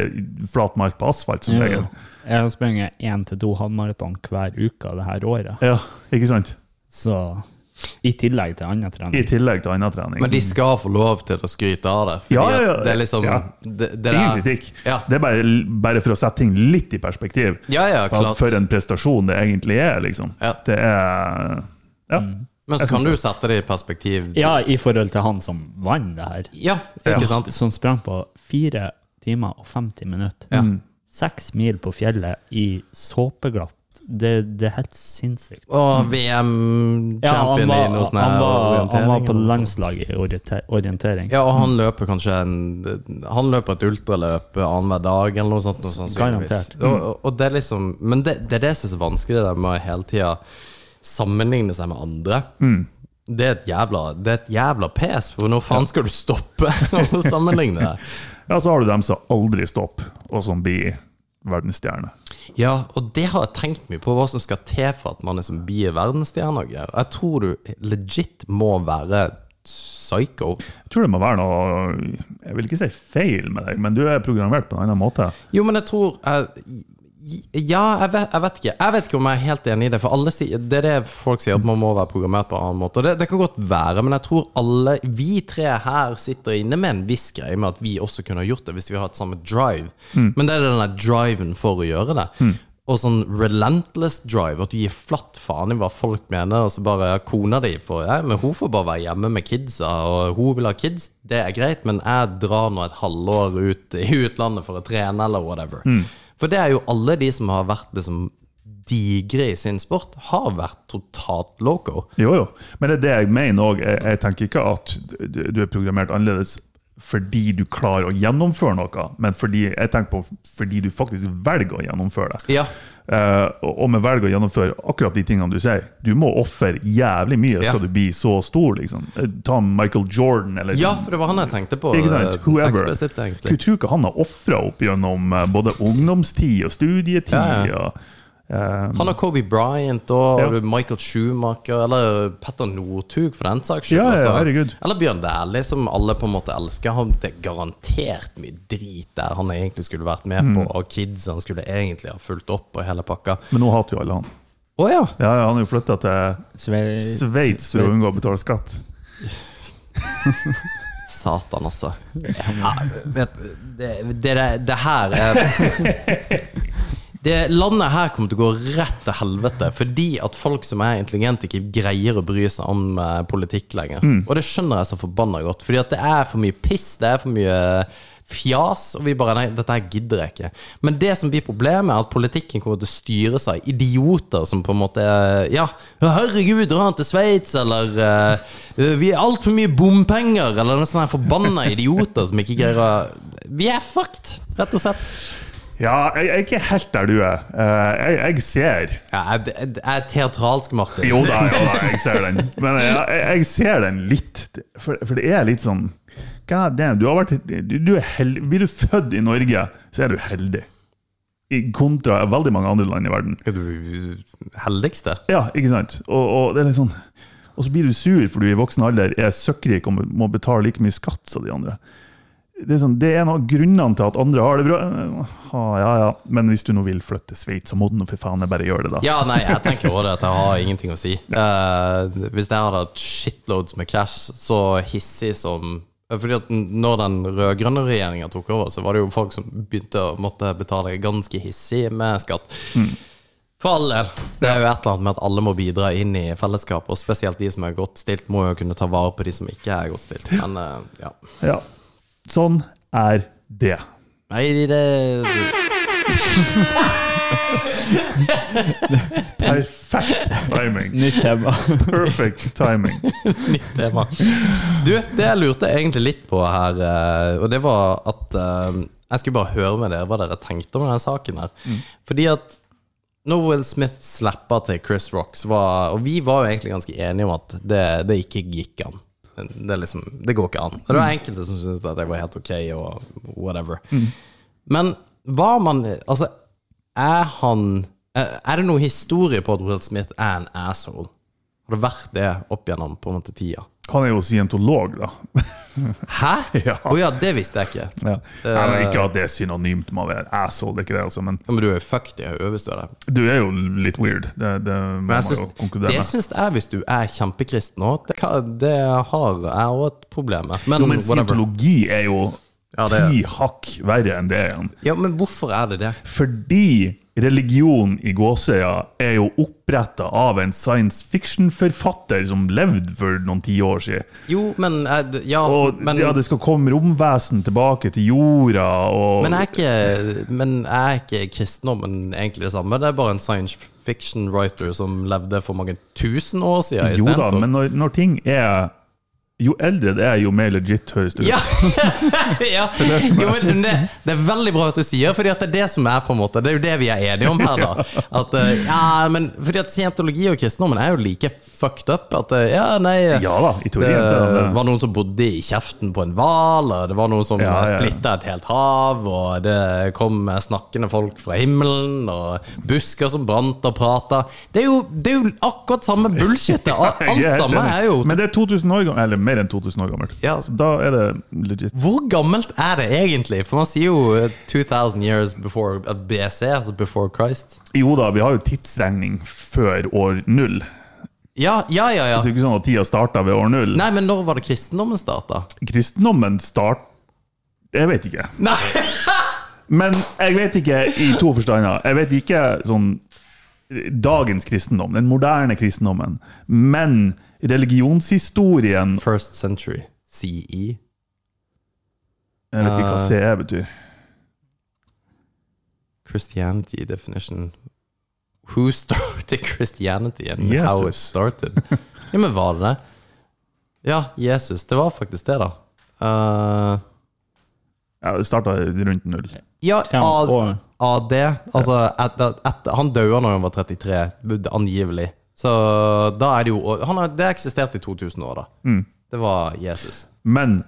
Speaker 7: flat mark på asfalt, som
Speaker 8: Ja.
Speaker 7: regel.
Speaker 8: Jeg har sprunget én til to halvmaraton hver uke det her året.
Speaker 7: Ja, ikke sant?
Speaker 8: Så i tillegg til annen
Speaker 7: I
Speaker 8: trening.
Speaker 7: tillegg til annen trening.
Speaker 6: Men de skal få lov til å skryte av det. Fordi
Speaker 7: Ja, ja, ja.
Speaker 6: at det er liksom
Speaker 7: Ja.
Speaker 6: det, det
Speaker 7: Ingen
Speaker 6: der-
Speaker 7: kritikk.
Speaker 6: Ja.
Speaker 7: Det er bare, bare for å sette ting litt i perspektiv.
Speaker 6: Ja, ja,
Speaker 7: På at
Speaker 6: klart.
Speaker 7: For en prestasjon det egentlig er, liksom.
Speaker 6: Ja. Mm.
Speaker 7: Det er Ja.
Speaker 6: Men så kan du sette det i perspektiv.
Speaker 8: Ja, i forhold til han som vant det her.
Speaker 6: Ja, ikke
Speaker 8: Ja.
Speaker 6: sant?
Speaker 8: Som sprang på fire timer og 50 minutter. Seks mil på fjellet i såpeglatt. Det, det er helt sinnssykt.
Speaker 6: Og VM-champion
Speaker 8: Ja, han
Speaker 6: i
Speaker 8: var,
Speaker 6: noe sånn
Speaker 8: han
Speaker 6: her
Speaker 8: var, han var på
Speaker 6: orientering.
Speaker 8: landslaget i oriente- orientering.
Speaker 6: Ja, og han løper kanskje en Han løper et ultraløp annenhver dag, eller noe sånt. Noe sånt
Speaker 8: Garantert.
Speaker 6: sannsynligvis. Og, og- og det er liksom Men det, det er det som er så vanskelig, det der med å hele tida sammenligne seg med andre.
Speaker 8: Mm.
Speaker 6: Det er, et jævla, det er et jævla pes, for når faen skal du stoppe å sammenligne deg?
Speaker 7: ja, så har du dem som aldri stopper, og som blir verdensstjerne.
Speaker 6: Ja, og det har jeg tenkt mye på, hva som skal til for at man liksom blir verdensstjerne. og greier. Jeg tror du legit må være psycho.
Speaker 7: Jeg tror det må være noe Jeg vil ikke si feil med deg, men du er programmert på en annen måte.
Speaker 6: Jo, men jeg tror jeg, Ja, jeg vet, jeg vet ikke. Jeg vet ikke om jeg er helt enig i det. For alle sier, det er det folk sier, at man må være programmert på en annen måte. Og det, det kan godt være, men jeg tror alle vi tre her sitter inne med en viss greie med at vi også kunne ha gjort det hvis vi hadde hatt samme drive. Men det er den der driven for å gjøre det. Og sånn relentless drive, at du gir flatt faen i hva folk mener, og så bare ja, kona di får ja, men hun får bare være hjemme med kidsa, og hun vil ha kids, det er greit, men jeg drar nå et halvår ut i utlandet for å trene, eller whatever.
Speaker 7: Mm.
Speaker 6: For det er jo alle de som har vært liksom digre i sin sport, har vært totalt loco.
Speaker 7: Jo, jo. Men det er det jeg mener òg. Jeg, jeg tenker ikke at du, du er programmert annerledes fordi du klarer å gjennomføre noe, men fordi, jeg tenker på fordi du faktisk velger å gjennomføre det.
Speaker 6: Ja.
Speaker 7: Eh, og og med velger å gjennomføre akkurat de tingene du sier. Du må ofre jævlig mye
Speaker 6: Ja.
Speaker 7: skal du bli så stor, liksom. Eh, Ta Michael Jordan eller
Speaker 6: ja, for det var han jeg tenkte på.
Speaker 7: ikke sant?
Speaker 6: eh,
Speaker 7: Whoever.
Speaker 6: eksplisitt, egentlig.
Speaker 7: Du tror ikke han har ofra opp gjennom eh, både ungdomstid og studietid?
Speaker 6: Ja, ja.
Speaker 7: Og, eh,
Speaker 6: Han har Kobe Bryant og
Speaker 7: Ja.
Speaker 6: har du Michael Schumacher, eller Petter Northug for den saks skyld.
Speaker 7: Ja, ja,
Speaker 6: altså.
Speaker 7: herregud.
Speaker 6: Eller Bjørn Dæhlie, som alle på en måte elsker. Han, det er garantert mye drit der han egentlig skulle vært med
Speaker 7: Mm.
Speaker 6: på, og kids han skulle egentlig ha fulgt opp, og hele pakka.
Speaker 7: men nå hater jo alle han.
Speaker 6: Å ja!
Speaker 7: Ja, ja, han har jo flytta til
Speaker 8: Sveits
Speaker 7: Sveits for å unngå å betale skatt.
Speaker 6: Satan, altså. Ja, vet, det, det, det, det her er det Landet her kommer til å gå rett til helvete fordi at folk som er intelligente, ikke greier å bry seg om eh, politikk lenger. Og det skjønner jeg så forbanna godt, fordi at det er for mye piss, det er for mye fjas, og vi bare Nei, dette her gidder jeg ikke. Men det som blir problemet, er at politikken kommer til å styre seg av idioter som på en måte eh, Ja, herregud, drar han til Sveits, eller eh, Vi er altfor mye bompenger, eller noen sånne her forbanna idioter som ikke greier å Vi er fucked, rett og slett.
Speaker 7: Ja, jeg, jeg er ikke helt der du er. Eh, jeg, jeg ser
Speaker 6: Ja, jeg, jeg, jeg er teatralsk, Martin.
Speaker 7: Jo da, jo da, jeg ser den. Men jeg, jeg, jeg ser den litt. For, for det er litt sånn God damn, du har vært du, du er held, Blir du født i Norge, så er du heldig. I kontra veldig mange andre land i verden.
Speaker 6: Er du heldigste?
Speaker 7: Ja, ikke sant? Og, og det er litt sånn Og så blir du sur fordi du i voksen alder er søkkrik og må betale like mye skatt som de andre. Det er, sånn, det er en av grunnene til at andre har det bra. Ah, ja, ja. Men hvis du nå vil flytte til Sveits, så må du nå for faen jeg bare gjøre det, da.
Speaker 6: Ja, nei, jeg tenker også det at jeg har ingenting å si. Eh, hvis jeg hadde hatt shitloads med cash, så hissig som fordi at når den rød-grønne regjeringa tok over, så var det jo folk som begynte å måtte betale ganske hissig med skatt. For all del. Det er jo et eller annet med at alle må bidra inn i fellesskapet, og spesielt de som er godt stilt, må jo kunne ta vare på de som ikke er godt stilt. Men eh, ja.
Speaker 7: Ja. Sånn er det.
Speaker 6: Nei, det
Speaker 7: Perfekt timing.
Speaker 8: Nytt tema.
Speaker 7: Perfect timing.
Speaker 6: tema. Du, det jeg lurte egentlig litt på her, eh, og det var at eh, Jeg skulle bare høre med dere hva dere tenkte om denne saken her. Fordi at når Will Smith slappa til Chris Rock, så var Og vi var jo egentlig ganske enige om at det, det ikke gikk an. Det, er liksom, det går ikke an. Og det var enkelte som syntes at jeg var helt ok, og whatever. Men var man Altså, er han Er er det noe historie på at Will Smith er en asshole? Har det vært det opp gjennom på en måte tida?
Speaker 7: Han er jo scientolog, da.
Speaker 6: Hæ? Å
Speaker 7: Ja.
Speaker 6: ja. det visste jeg ikke.
Speaker 7: Ja. Nei, men ikke at det er synonymt med å være asshole, det er ikke det, altså, men
Speaker 6: Ja, men du er jo fucked i hodet hvis du er det.
Speaker 7: du er jo litt weird. Det, det må
Speaker 6: Men
Speaker 7: man
Speaker 6: jeg
Speaker 7: jo
Speaker 6: syns,
Speaker 7: konkludere
Speaker 6: det
Speaker 7: med.
Speaker 6: syns jeg hvis du er kjempekristen òg. Det, kan- det har jeg òg et problem med. Men,
Speaker 7: Jo, Altså, men
Speaker 6: whatever.
Speaker 7: scientologi er jo
Speaker 6: Ja, det er-
Speaker 7: ti hakk verre enn det igjen.
Speaker 6: Ja, men hvorfor er det det?
Speaker 7: Fordi religion i Gåsøya er jo oppretta av en science fiction-forfatter som levde for noen tiår siden.
Speaker 6: Jo, men jeg, Ja,
Speaker 7: Og
Speaker 6: men,
Speaker 7: ja, det skal komme romvesen tilbake til jorda og
Speaker 6: men jeg er ikke, men jeg er ikke kristendommen egentlig det samme. Det er bare en science fiction writer som levde for mange tusen år siden
Speaker 7: Jo da,
Speaker 6: istedenfor.
Speaker 7: men når, når ting er Jo eldre det er, jo mer legit høres det ut.
Speaker 6: Ja! ja. Jo, men det, det er veldig bra at du sier, Fordi at det er det som er på en måte Det er jo det vi er enige om her, da. At, eh, ja, men, fordi at scientologi og kristendommen er jo like fucked up. At eh, ja, nei
Speaker 7: Ja da, i
Speaker 6: Det
Speaker 7: teorien så er det det.
Speaker 6: var noen som bodde i kjeften på en hval, og det var noen som
Speaker 7: Ja,
Speaker 6: ja,
Speaker 7: ja.
Speaker 6: splitta et helt hav, og det kom snakkende folk fra himmelen, og busker som brant og prata. Det, er jo- det er jo akkurat samme bullshit. det.
Speaker 7: Jeg
Speaker 6: Alt
Speaker 7: helt
Speaker 6: sammen
Speaker 7: enig.
Speaker 6: er jo
Speaker 7: Men det er 2000 år gammelt, eller mer enn 2000 år gammelt.
Speaker 6: Ja. altså-
Speaker 7: Så da er det legit.
Speaker 6: Hvor gammelt er det egentlig? For man sier jo eh, 2000 years before eh, BC, altså before Christ.
Speaker 7: Jo da, vi har jo tidsregning før år null.
Speaker 6: Ja, ja, ja. ja.
Speaker 7: Så det er ikke sånn at tida starta ved år null.
Speaker 6: Nei, men når var det kristendommen starta?
Speaker 7: Kristendommen start... Jeg vet ikke.
Speaker 6: Nei.
Speaker 7: Men jeg vet ikke i to forstander. Jeg vet ikke sånn dagens kristendom, den moderne kristendommen, men religionshistorien
Speaker 6: First century E, CE.
Speaker 7: Jeg vet ikke hva CE betyr.
Speaker 6: Christianity definition. Who started Christianity and how it
Speaker 7: Jesus.
Speaker 6: started? Ja, men var det det? Ja, Jesus. Det var faktisk det, da. Eh,
Speaker 7: Ja, det starta rundt null.
Speaker 6: ja,
Speaker 8: Ja,
Speaker 6: av,
Speaker 8: og-
Speaker 6: av det Altså, etter, etter, han døde når han var 33, bud- angivelig. Så da er det jo han har, Det eksisterte i 2000 år, da.
Speaker 8: Mm.
Speaker 6: Det var Jesus.
Speaker 7: Men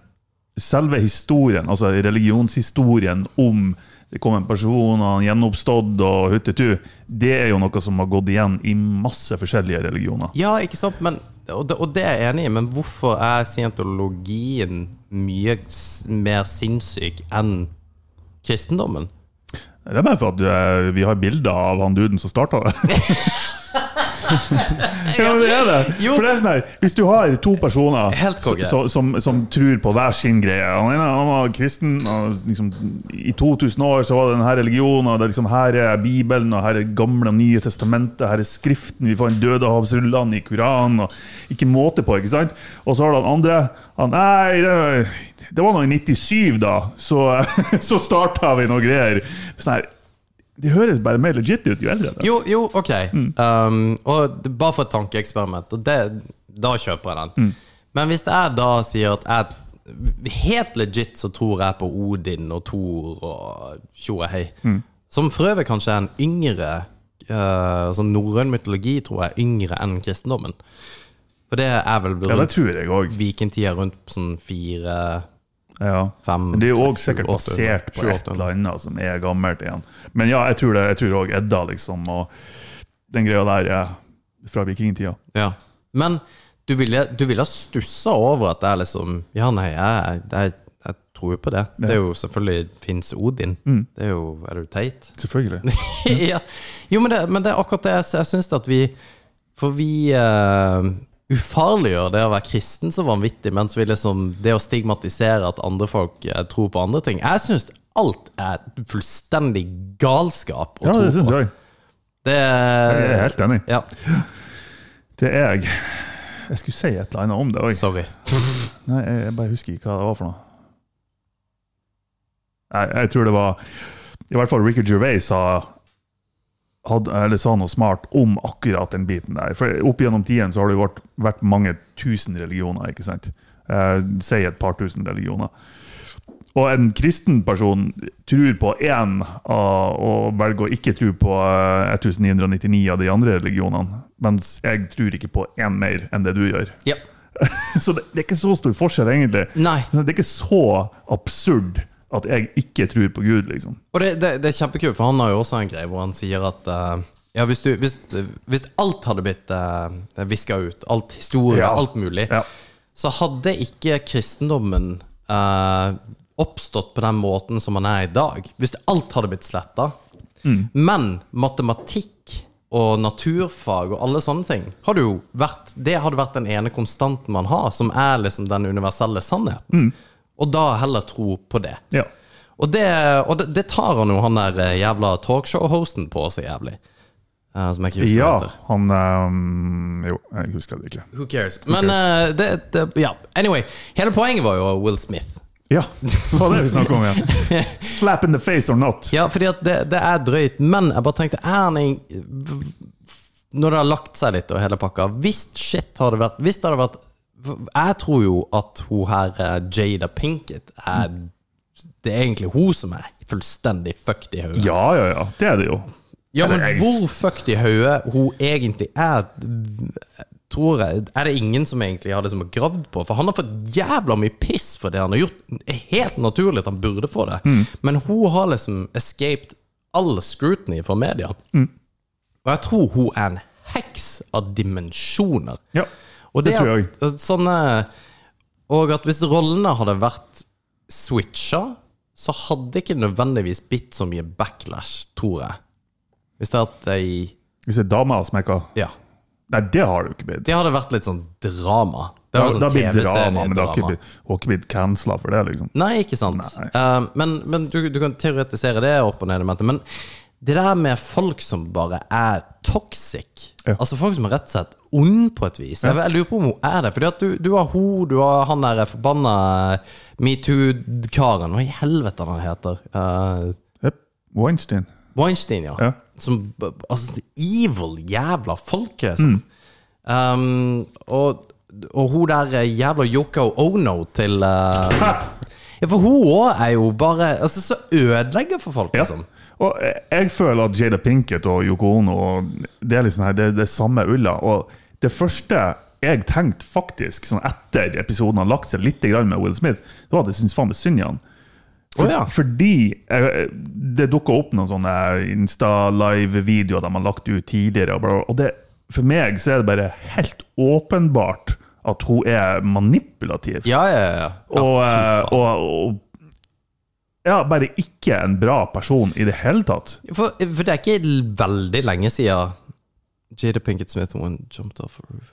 Speaker 7: selve historien, altså religionshistorien om det kom en person, og han gjenoppstått og huttetu, det er jo noe som har gått igjen i masse forskjellige religioner.
Speaker 6: Ja, ikke sant? Men, og, det, og det er jeg enig i, men hvorfor er scientologien mye s- mer sinnssyk enn kristendommen?
Speaker 7: Det er bare for at eh, vi har bilder av han duden som starta det. ja, men det er det.
Speaker 6: Jo.
Speaker 7: For det er sånn her, Hvis du har to personer
Speaker 6: Helt konge.
Speaker 7: så- så- som, som tror på hver sin greie Han ene han var kristen, og liksom, i 2000 år så var det denne religionen, og det er liksom, her er Bibelen, og her er Gamle og Nye testamentet, her er Skriften, vi får en dødehavsrullene i Koranen, og ikke måte på, ikke sant? Og så har du han andre han, Nei, det, det var nå i 97, da, så, så starta vi noe greier. Sånn her, det høres bare mer legit ut jo eldre. det er.
Speaker 6: Jo, jo, ok.
Speaker 7: Mm.
Speaker 6: Um, og det- bare for et tankeeksperiment, og det, da kjøper jeg den.
Speaker 7: Mm.
Speaker 6: Men hvis jeg da sier at jeg helt legit så tror jeg på Odin og Thor og tjo og hei,
Speaker 7: Mm.
Speaker 6: som for øvrig kanskje er en yngre uh, sånn norrøn mytologi tror jeg er yngre enn kristendommen. For det er vel
Speaker 7: Ja, det
Speaker 6: rundt
Speaker 7: tror jeg òg.
Speaker 6: vikingtida rundt sånn fire
Speaker 7: Ja.
Speaker 6: Fem,
Speaker 7: Men det er
Speaker 6: seks,
Speaker 7: jo òg sikkert
Speaker 6: sju, åtte,
Speaker 7: basert på
Speaker 6: sju,
Speaker 7: et
Speaker 6: åtte.
Speaker 7: eller annet som er gammelt igjen. Men ja, jeg tror det. Jeg tror òg Edda, liksom, og den greia der er fra vikingtida.
Speaker 6: Ja. Men du ville, du ville ha stussa over at det er liksom Ja, nei, jeg, jeg, jeg tror jo på det. Det er jo selvfølgelig fins Odin.
Speaker 7: Mm.
Speaker 6: Det er jo Er du teit? Mm.
Speaker 7: Selvfølgelig.
Speaker 6: ja. Jo, men det, men det er akkurat det jeg, s- jeg syns at vi For vi eh, ufarliggjør det å være kristen så vanvittig, mens vi liksom Det å stigmatisere at andre folk eh, tror på andre ting Jeg syns alt er fullstendig galskap å
Speaker 7: Ja, det
Speaker 6: tro
Speaker 7: syns
Speaker 6: på.
Speaker 7: jeg.
Speaker 6: Det
Speaker 7: Jeg er helt enig.
Speaker 6: Ja,
Speaker 7: Det er jeg. Jeg skulle si et eller annet om det òg.
Speaker 6: sorry.
Speaker 7: Nei, jeg, jeg bare husker ikke hva det var for noe. Nei, jeg tror det var I hvert fall Ricky Gervais sa hadde, eller sa noe smart om akkurat den biten der. For opp gjennom tiden så har det jo vært, vært mange tusen religioner, ikke sant? Eh, si et par tusen religioner. Og en kristen person tror på én av- og velger å ikke tro på eh, 1999 av de andre religionene, mens jeg tror ikke på én mer enn det du gjør.
Speaker 6: Ja.
Speaker 7: Så det, det er ikke så stor forskjell, egentlig.
Speaker 6: Nei.
Speaker 7: Så Det er ikke så absurd at jeg ikke tror på Gud, liksom.
Speaker 6: Og det, det, det er kjempekult, for han har jo også en greie hvor han sier at eh, ja, hvis, du, hvis, hvis alt hadde blitt uh, viska ut, alt historie,
Speaker 7: Ja.
Speaker 6: alt mulig,
Speaker 7: Ja.
Speaker 6: så hadde ikke kristendommen eh, oppstått på den måten som han er i dag. Hvis alt hadde blitt sletta.
Speaker 7: Mm.
Speaker 6: Men matematikk og naturfag og alle sånne ting hadde jo vært, Det hadde vært den ene konstanten man har, som er liksom den universelle sannheten. Og da heller tro på det.
Speaker 7: Mm. Ja.
Speaker 6: Og det, og det, det tar han jo, han der eh, jævla talkshow-hosten på så jævlig. Eh, som jeg ikke husker
Speaker 7: ja
Speaker 6: hva heter.
Speaker 7: han ehm, Jo, jeg husker det ikke.
Speaker 6: Who cares? Men eh, det, det Ja, anyway. Hele poenget var jo Will Smith.
Speaker 7: Ja, det var det vi snakket om igjen. Slap in the face or not.
Speaker 6: Ja, fordi at det, det er drøyt, men jeg bare tenkte er han en, Når det har lagt seg litt og hele pakka Hvis shit hadde vært Hvis det hadde vært Jeg tror jo at hun her, eh, Jada Pinkett, er Det er egentlig hun som er fullstendig fucked i hodet.
Speaker 7: Ja, ja, ja. Det er det jo.
Speaker 6: Ja, men
Speaker 7: Eller jeg-
Speaker 6: hvor fucked i hodet hun egentlig er, tror jeg Er det ingen som egentlig har liksom gravd på? For han har fått jævla mye piss for det han har gjort. Det er Helt naturlig at han burde få det. Men hun har liksom escaped all scrutiny fra media. Og jeg tror hun er en heks av dimensjoner.
Speaker 7: Ja,
Speaker 6: Og
Speaker 7: det tror jeg
Speaker 6: at- Sånne, og at hvis rollene hadde vært switcha, så hadde ikke nødvendigvis blitt så mye backlash, tror jeg. Hvis det hadde vært ei
Speaker 7: Hvis ei dame har smekka
Speaker 6: Ja.
Speaker 7: Nei, det har det jo ikke blitt.
Speaker 6: Det hadde vært litt sånn drama. Det Det var
Speaker 7: Da,
Speaker 6: sånn
Speaker 7: da blir det
Speaker 6: TV-serie
Speaker 7: drama, men det har ikke
Speaker 6: drama.
Speaker 7: blitt, hun har ikke blitt cancela for det, liksom.
Speaker 6: Nei, ikke sant. Eh, men men du, du kan teoretisere det opp og ned. i mente, Men det der med folk som bare er toxic
Speaker 7: Ja.
Speaker 6: Altså folk som er rett og slett ond på et vis. Jeg, jeg lurer på om hun er det. Fordi at du, du har hun, du har han der forbanna metoo-karen Hva i helvete han heter? Eh,
Speaker 7: Yep. Weinstein.
Speaker 6: Weinstein, ja.
Speaker 7: Ja.
Speaker 6: Som b- b- Altså, det evil jævla folket, liksom.
Speaker 7: Mm.
Speaker 6: Um, og, og hun der eh, jævla Yoko Ono til eh, Ja, for hun òg er jo bare Altså, så ødelegger for folk,
Speaker 7: Ja.
Speaker 6: liksom.
Speaker 7: Og jeg- jeg føler at Jada Pinkett og Yoko Ono og det er liksom her, det, det er samme ulla. Og det første jeg tenkte faktisk, sånn etter episoden har lagt seg litt grann med Will Smith, det var at jeg syntes faen meg synd i han. For,
Speaker 6: Å, ja.
Speaker 7: Fordi eh, det dukka opp noen sånne Insta-live-videoer de har lagt ut tidligere. Og, bla, bla, og det, for meg så er det bare helt åpenbart at hun er manipulativ.
Speaker 6: Ja, ja, ja. ja.
Speaker 7: Og,
Speaker 6: Ja,
Speaker 7: eh,
Speaker 6: fy faen.
Speaker 7: og, og ja, bare ikke en bra person i det hele tatt.
Speaker 6: For, for det er ikke l- veldig lenge siden Jada Pinkett Smith hun jumped off a roof.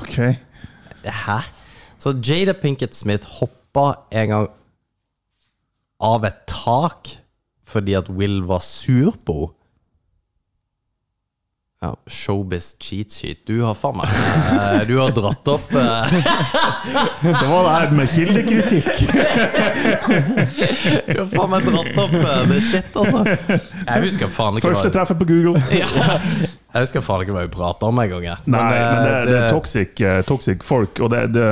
Speaker 7: Ok.
Speaker 6: Hæ? Så Jada Pinkett Smith hoppa en gang av et tak fordi at Will var sur på henne. Ja, showbiz cheat sheet. Du har faen meg eh, Du har dratt opp eh,
Speaker 7: Det var det her med kildekritikk.
Speaker 6: Du har faen meg dratt opp eh, det shit, altså. Jeg husker faen ikke
Speaker 7: Første
Speaker 6: hva
Speaker 7: treffet på Google. Nei,
Speaker 6: Jeg husker faen ikke hva vi prata om engang. jeg. Men,
Speaker 7: men det,
Speaker 6: eh,
Speaker 7: det er toxic, eh, toxic folk. Og det, det,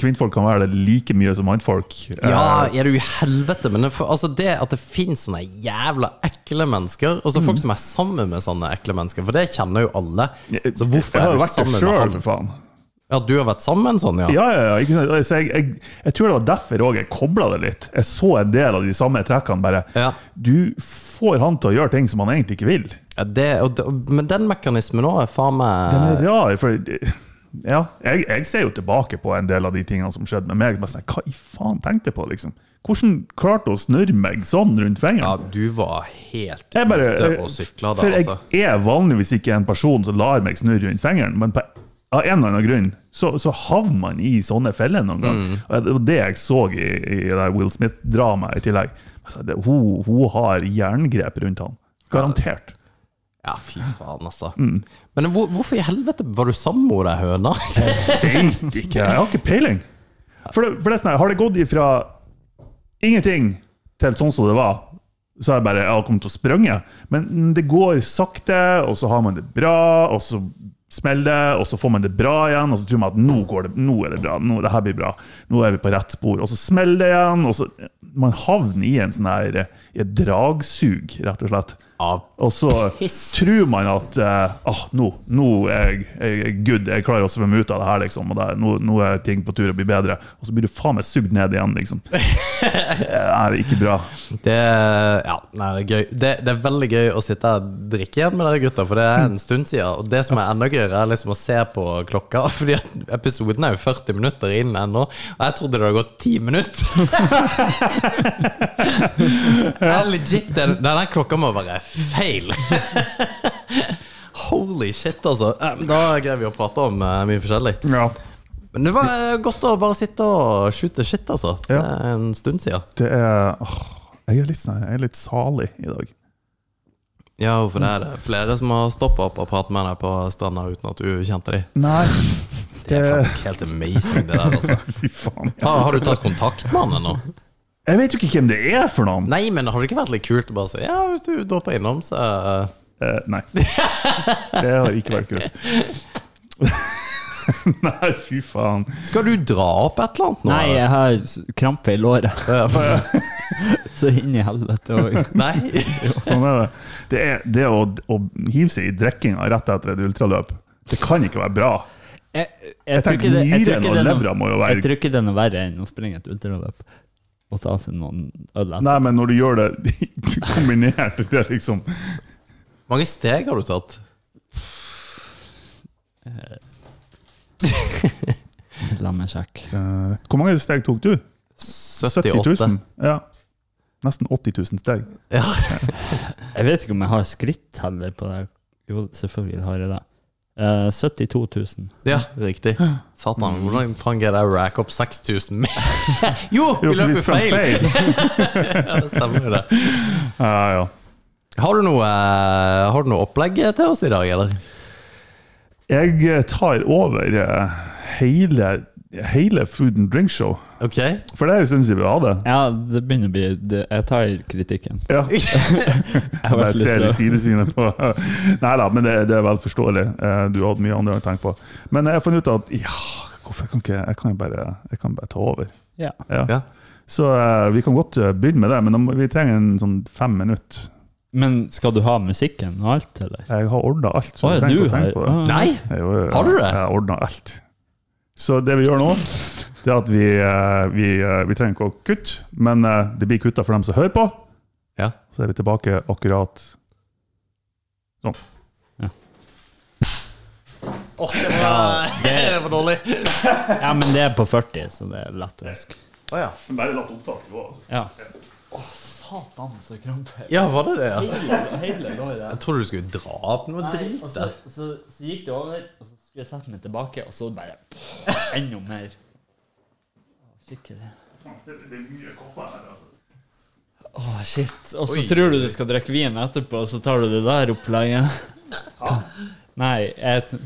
Speaker 7: kvinnfolk kan være det like mye som mannfolk. Eh,
Speaker 6: Ja, er du i helvete? Men det, for, altså det at det finnes sånne jævla ekle mennesker, og så
Speaker 7: Mm.
Speaker 6: folk som er sammen med sånne ekle mennesker, for det kjenner jo alle. Så hvorfor
Speaker 7: eh, jeg har
Speaker 6: er du
Speaker 7: jo vært det
Speaker 6: sammen med
Speaker 7: sjøl,
Speaker 6: han?
Speaker 7: for faen.
Speaker 6: Ja, du har vært sammen med en sånn, ja?
Speaker 7: Ja, ja, ja. Ikke sant? Så jeg, jeg, jeg tror det var derfor også jeg kobla det litt. Jeg så en del av de samme trekkene. bare.
Speaker 6: Ja.
Speaker 7: Du får han til å gjøre ting som han egentlig ikke vil.
Speaker 6: Ja, det, og, det- men den mekanismen òg er faen
Speaker 7: Den
Speaker 6: meg
Speaker 7: er rar. for... Ja, jeg, jeg ser jo tilbake på en del av de tingene som skjedde med meg. Bare sånn, Hva i faen tenkte jeg på, liksom? Hvordan klarte hun å snurre meg sånn rundt
Speaker 6: Ja,
Speaker 7: fingeren?
Speaker 6: du var helt
Speaker 7: Jeg bare,
Speaker 6: ute og sykla da,
Speaker 7: for jeg
Speaker 6: altså.
Speaker 7: er vanligvis ikke en person som lar meg snurre rundt fingeren, men på, av en eller annen grunn så, så havner man i sånne feller noen gang.
Speaker 6: Mm.
Speaker 7: Og Det var det jeg så i, i det der Will Smith-dramaet i tillegg. Altså, det, hun, hun har jerngrep rundt han. Garantert.
Speaker 6: Ja, fy faen, altså.
Speaker 7: Mm.
Speaker 6: Men hvor, hvorfor i helvete var du sammen med ei høna?
Speaker 7: Eh, Vet ikke. Jeg har ikke peiling. For det, for det er sånn her, har det gått ifra ingenting til sånn som det var, så har jeg bare jeg har kommet til å sprønge. Men det går sakte, og så har man det bra, og så smeller det, og så får man det bra igjen, og så tror man at nå, går det, nå er det bra, nå, det her blir bra, nå er vi på rett spor, og så smeller det igjen, og så Man havner i en sånn her i et dragsug, rett og slett.
Speaker 6: Av
Speaker 7: Og så
Speaker 6: Piss.
Speaker 7: tror man at eh, ah, nå, nå er jeg, jeg er good, jeg klarer å svømme ut av det her, liksom, og det, er- nå, nå er ting på tur å bli bedre. Og så blir du faen meg sugd ned igjen, liksom. Det er ikke bra.
Speaker 6: Det, ja, nei, det, er gøy. Det, det er veldig gøy å sitte og drikke igjen med dere gutta, for det er en stund siden. Og det som er enda gøyere, er liksom å se på klokka, Fordi at episoden er jo 40 minutter inn ennå. Og jeg trodde det hadde gått 10 minutter. Det er legit, den, den der klokka må være feil. Holy shit, altså. Eh, Da greier vi å prate om eh, mye forskjellig.
Speaker 7: Ja.
Speaker 6: Men det var eh, godt å bare sitte og skyte shit, altså. Det
Speaker 7: Ja.
Speaker 6: er en stund siden.
Speaker 7: Det er åh, jeg, er litt, sånn- jeg er litt salig i dag.
Speaker 6: Ja, for det er det flere som har stoppa opp og pratet med deg på stranda uten at du kjente dem.
Speaker 7: Nei,
Speaker 6: Det er faktisk helt amazing, det der, altså.
Speaker 7: fy faen.
Speaker 6: Har, har du tatt kontakt med han ennå?
Speaker 7: Jeg vet jo ikke hvem det er for noen.
Speaker 6: Nei, men har det ikke vært litt kult å bare si ja, hvis du dropper innom, så eh,
Speaker 7: Eh, nei. Det har ikke vært kult. Nei, fy faen.
Speaker 6: Skal du dra opp et eller annet nå?
Speaker 8: Nei, jeg har s- krampe i låret.
Speaker 6: jeg...
Speaker 8: Så inn i helvete òg.
Speaker 6: Nei?
Speaker 7: Sånn er det. Det, er, det å, å hive seg i drikkinga rett etter et ultraløp, det kan ikke være bra.
Speaker 8: Jeg, jeg, tror ikke
Speaker 7: tenker
Speaker 8: det- jeg
Speaker 7: Nyren
Speaker 8: tror ikke
Speaker 7: og
Speaker 8: det er noe-
Speaker 7: levra må jo
Speaker 8: Jeg
Speaker 7: være
Speaker 8: tror ikke det er noe verre enn å springe et ultraløp og ta seg noen øl etter.
Speaker 7: Nei, men når du gjør det kombinert, det er liksom
Speaker 6: Mange steg har du tatt?
Speaker 8: La meg sjekke.
Speaker 7: eh, Hvor mange steg tok du?
Speaker 6: 78.
Speaker 7: 000? Ja. Nesten 80 000 steg.
Speaker 8: Jeg vet ikke om jeg har skritt heller på det. Jo, selvfølgelig har jeg det. Eh, 72 000.
Speaker 6: Ja, riktig. Satan, hvordan faen greier jeg å racke opp 6000 mer? Jo, vi
Speaker 7: Jo, for vi
Speaker 6: løper
Speaker 7: sprang
Speaker 6: feil!
Speaker 7: feil.
Speaker 6: Ja, det stemmer jo det.
Speaker 7: Ja, ja.
Speaker 6: Har du noe, eh, har du noe opplegg til oss i dag, eller?
Speaker 7: Jeg eh, tar over eh, hele, hele Food and Drink Show.
Speaker 6: Ok.
Speaker 7: For det er jo stund siden vi hadde.
Speaker 8: Ja, det begynner å bli det, Jeg tar kritikken.
Speaker 7: Ja.
Speaker 8: Jeg har
Speaker 7: Jeg
Speaker 8: vært litt
Speaker 7: ser i
Speaker 8: sløv.
Speaker 7: sidesynet på Nei da, men det, det er vel forståelig. Eh, Du hadde mye andre å tenke på. Men jeg har funnet ut at ja, hvorfor kan ikke jeg kan jo bare, jeg kan bare ta over?
Speaker 8: Ja.
Speaker 7: Ja.
Speaker 6: Ja.
Speaker 7: Så eh, vi kan godt eh, begynne med det, men da må- vi trenger en sånn fem minutter.
Speaker 8: Men skal du ha musikken og alt, eller?
Speaker 7: Jeg har ordna alt. så
Speaker 8: Å, ja,
Speaker 7: trenger
Speaker 8: du
Speaker 7: ikke å tenke
Speaker 8: har
Speaker 7: på det.
Speaker 8: ah.
Speaker 6: Nei?
Speaker 7: Jeg jo, jeg-
Speaker 6: Har du det?
Speaker 7: Jeg har ordna alt. Så det vi gjør nå, det er at vi, eh, vi, eh, vi trenger ikke å kutte, men eh, det blir kutta for dem som hører på.
Speaker 6: Ja.
Speaker 7: Så er vi tilbake akkurat sånn.
Speaker 6: det var dårlig.
Speaker 8: Ja, men det er på 40, så det er lett å huske.
Speaker 7: Bare latt opptaket gå. Altså.
Speaker 8: Ja. Satan, så krampe.
Speaker 6: Ja, var det det? ja?
Speaker 8: Hele låret.
Speaker 6: Jeg trodde du skulle dra opp noe
Speaker 8: Nei,
Speaker 6: drit
Speaker 8: og så,
Speaker 6: der.
Speaker 8: så, så gikk det over, og så skulle jeg sette meg tilbake, og så bare enda mer. Å, Skikkelig.
Speaker 7: Det er mye kopper her, altså.
Speaker 8: Å, shit. Og så
Speaker 6: Oi.
Speaker 8: tror du du skal drikke vin etterpå, og så tar du det der opplegget. Nei, jeg t-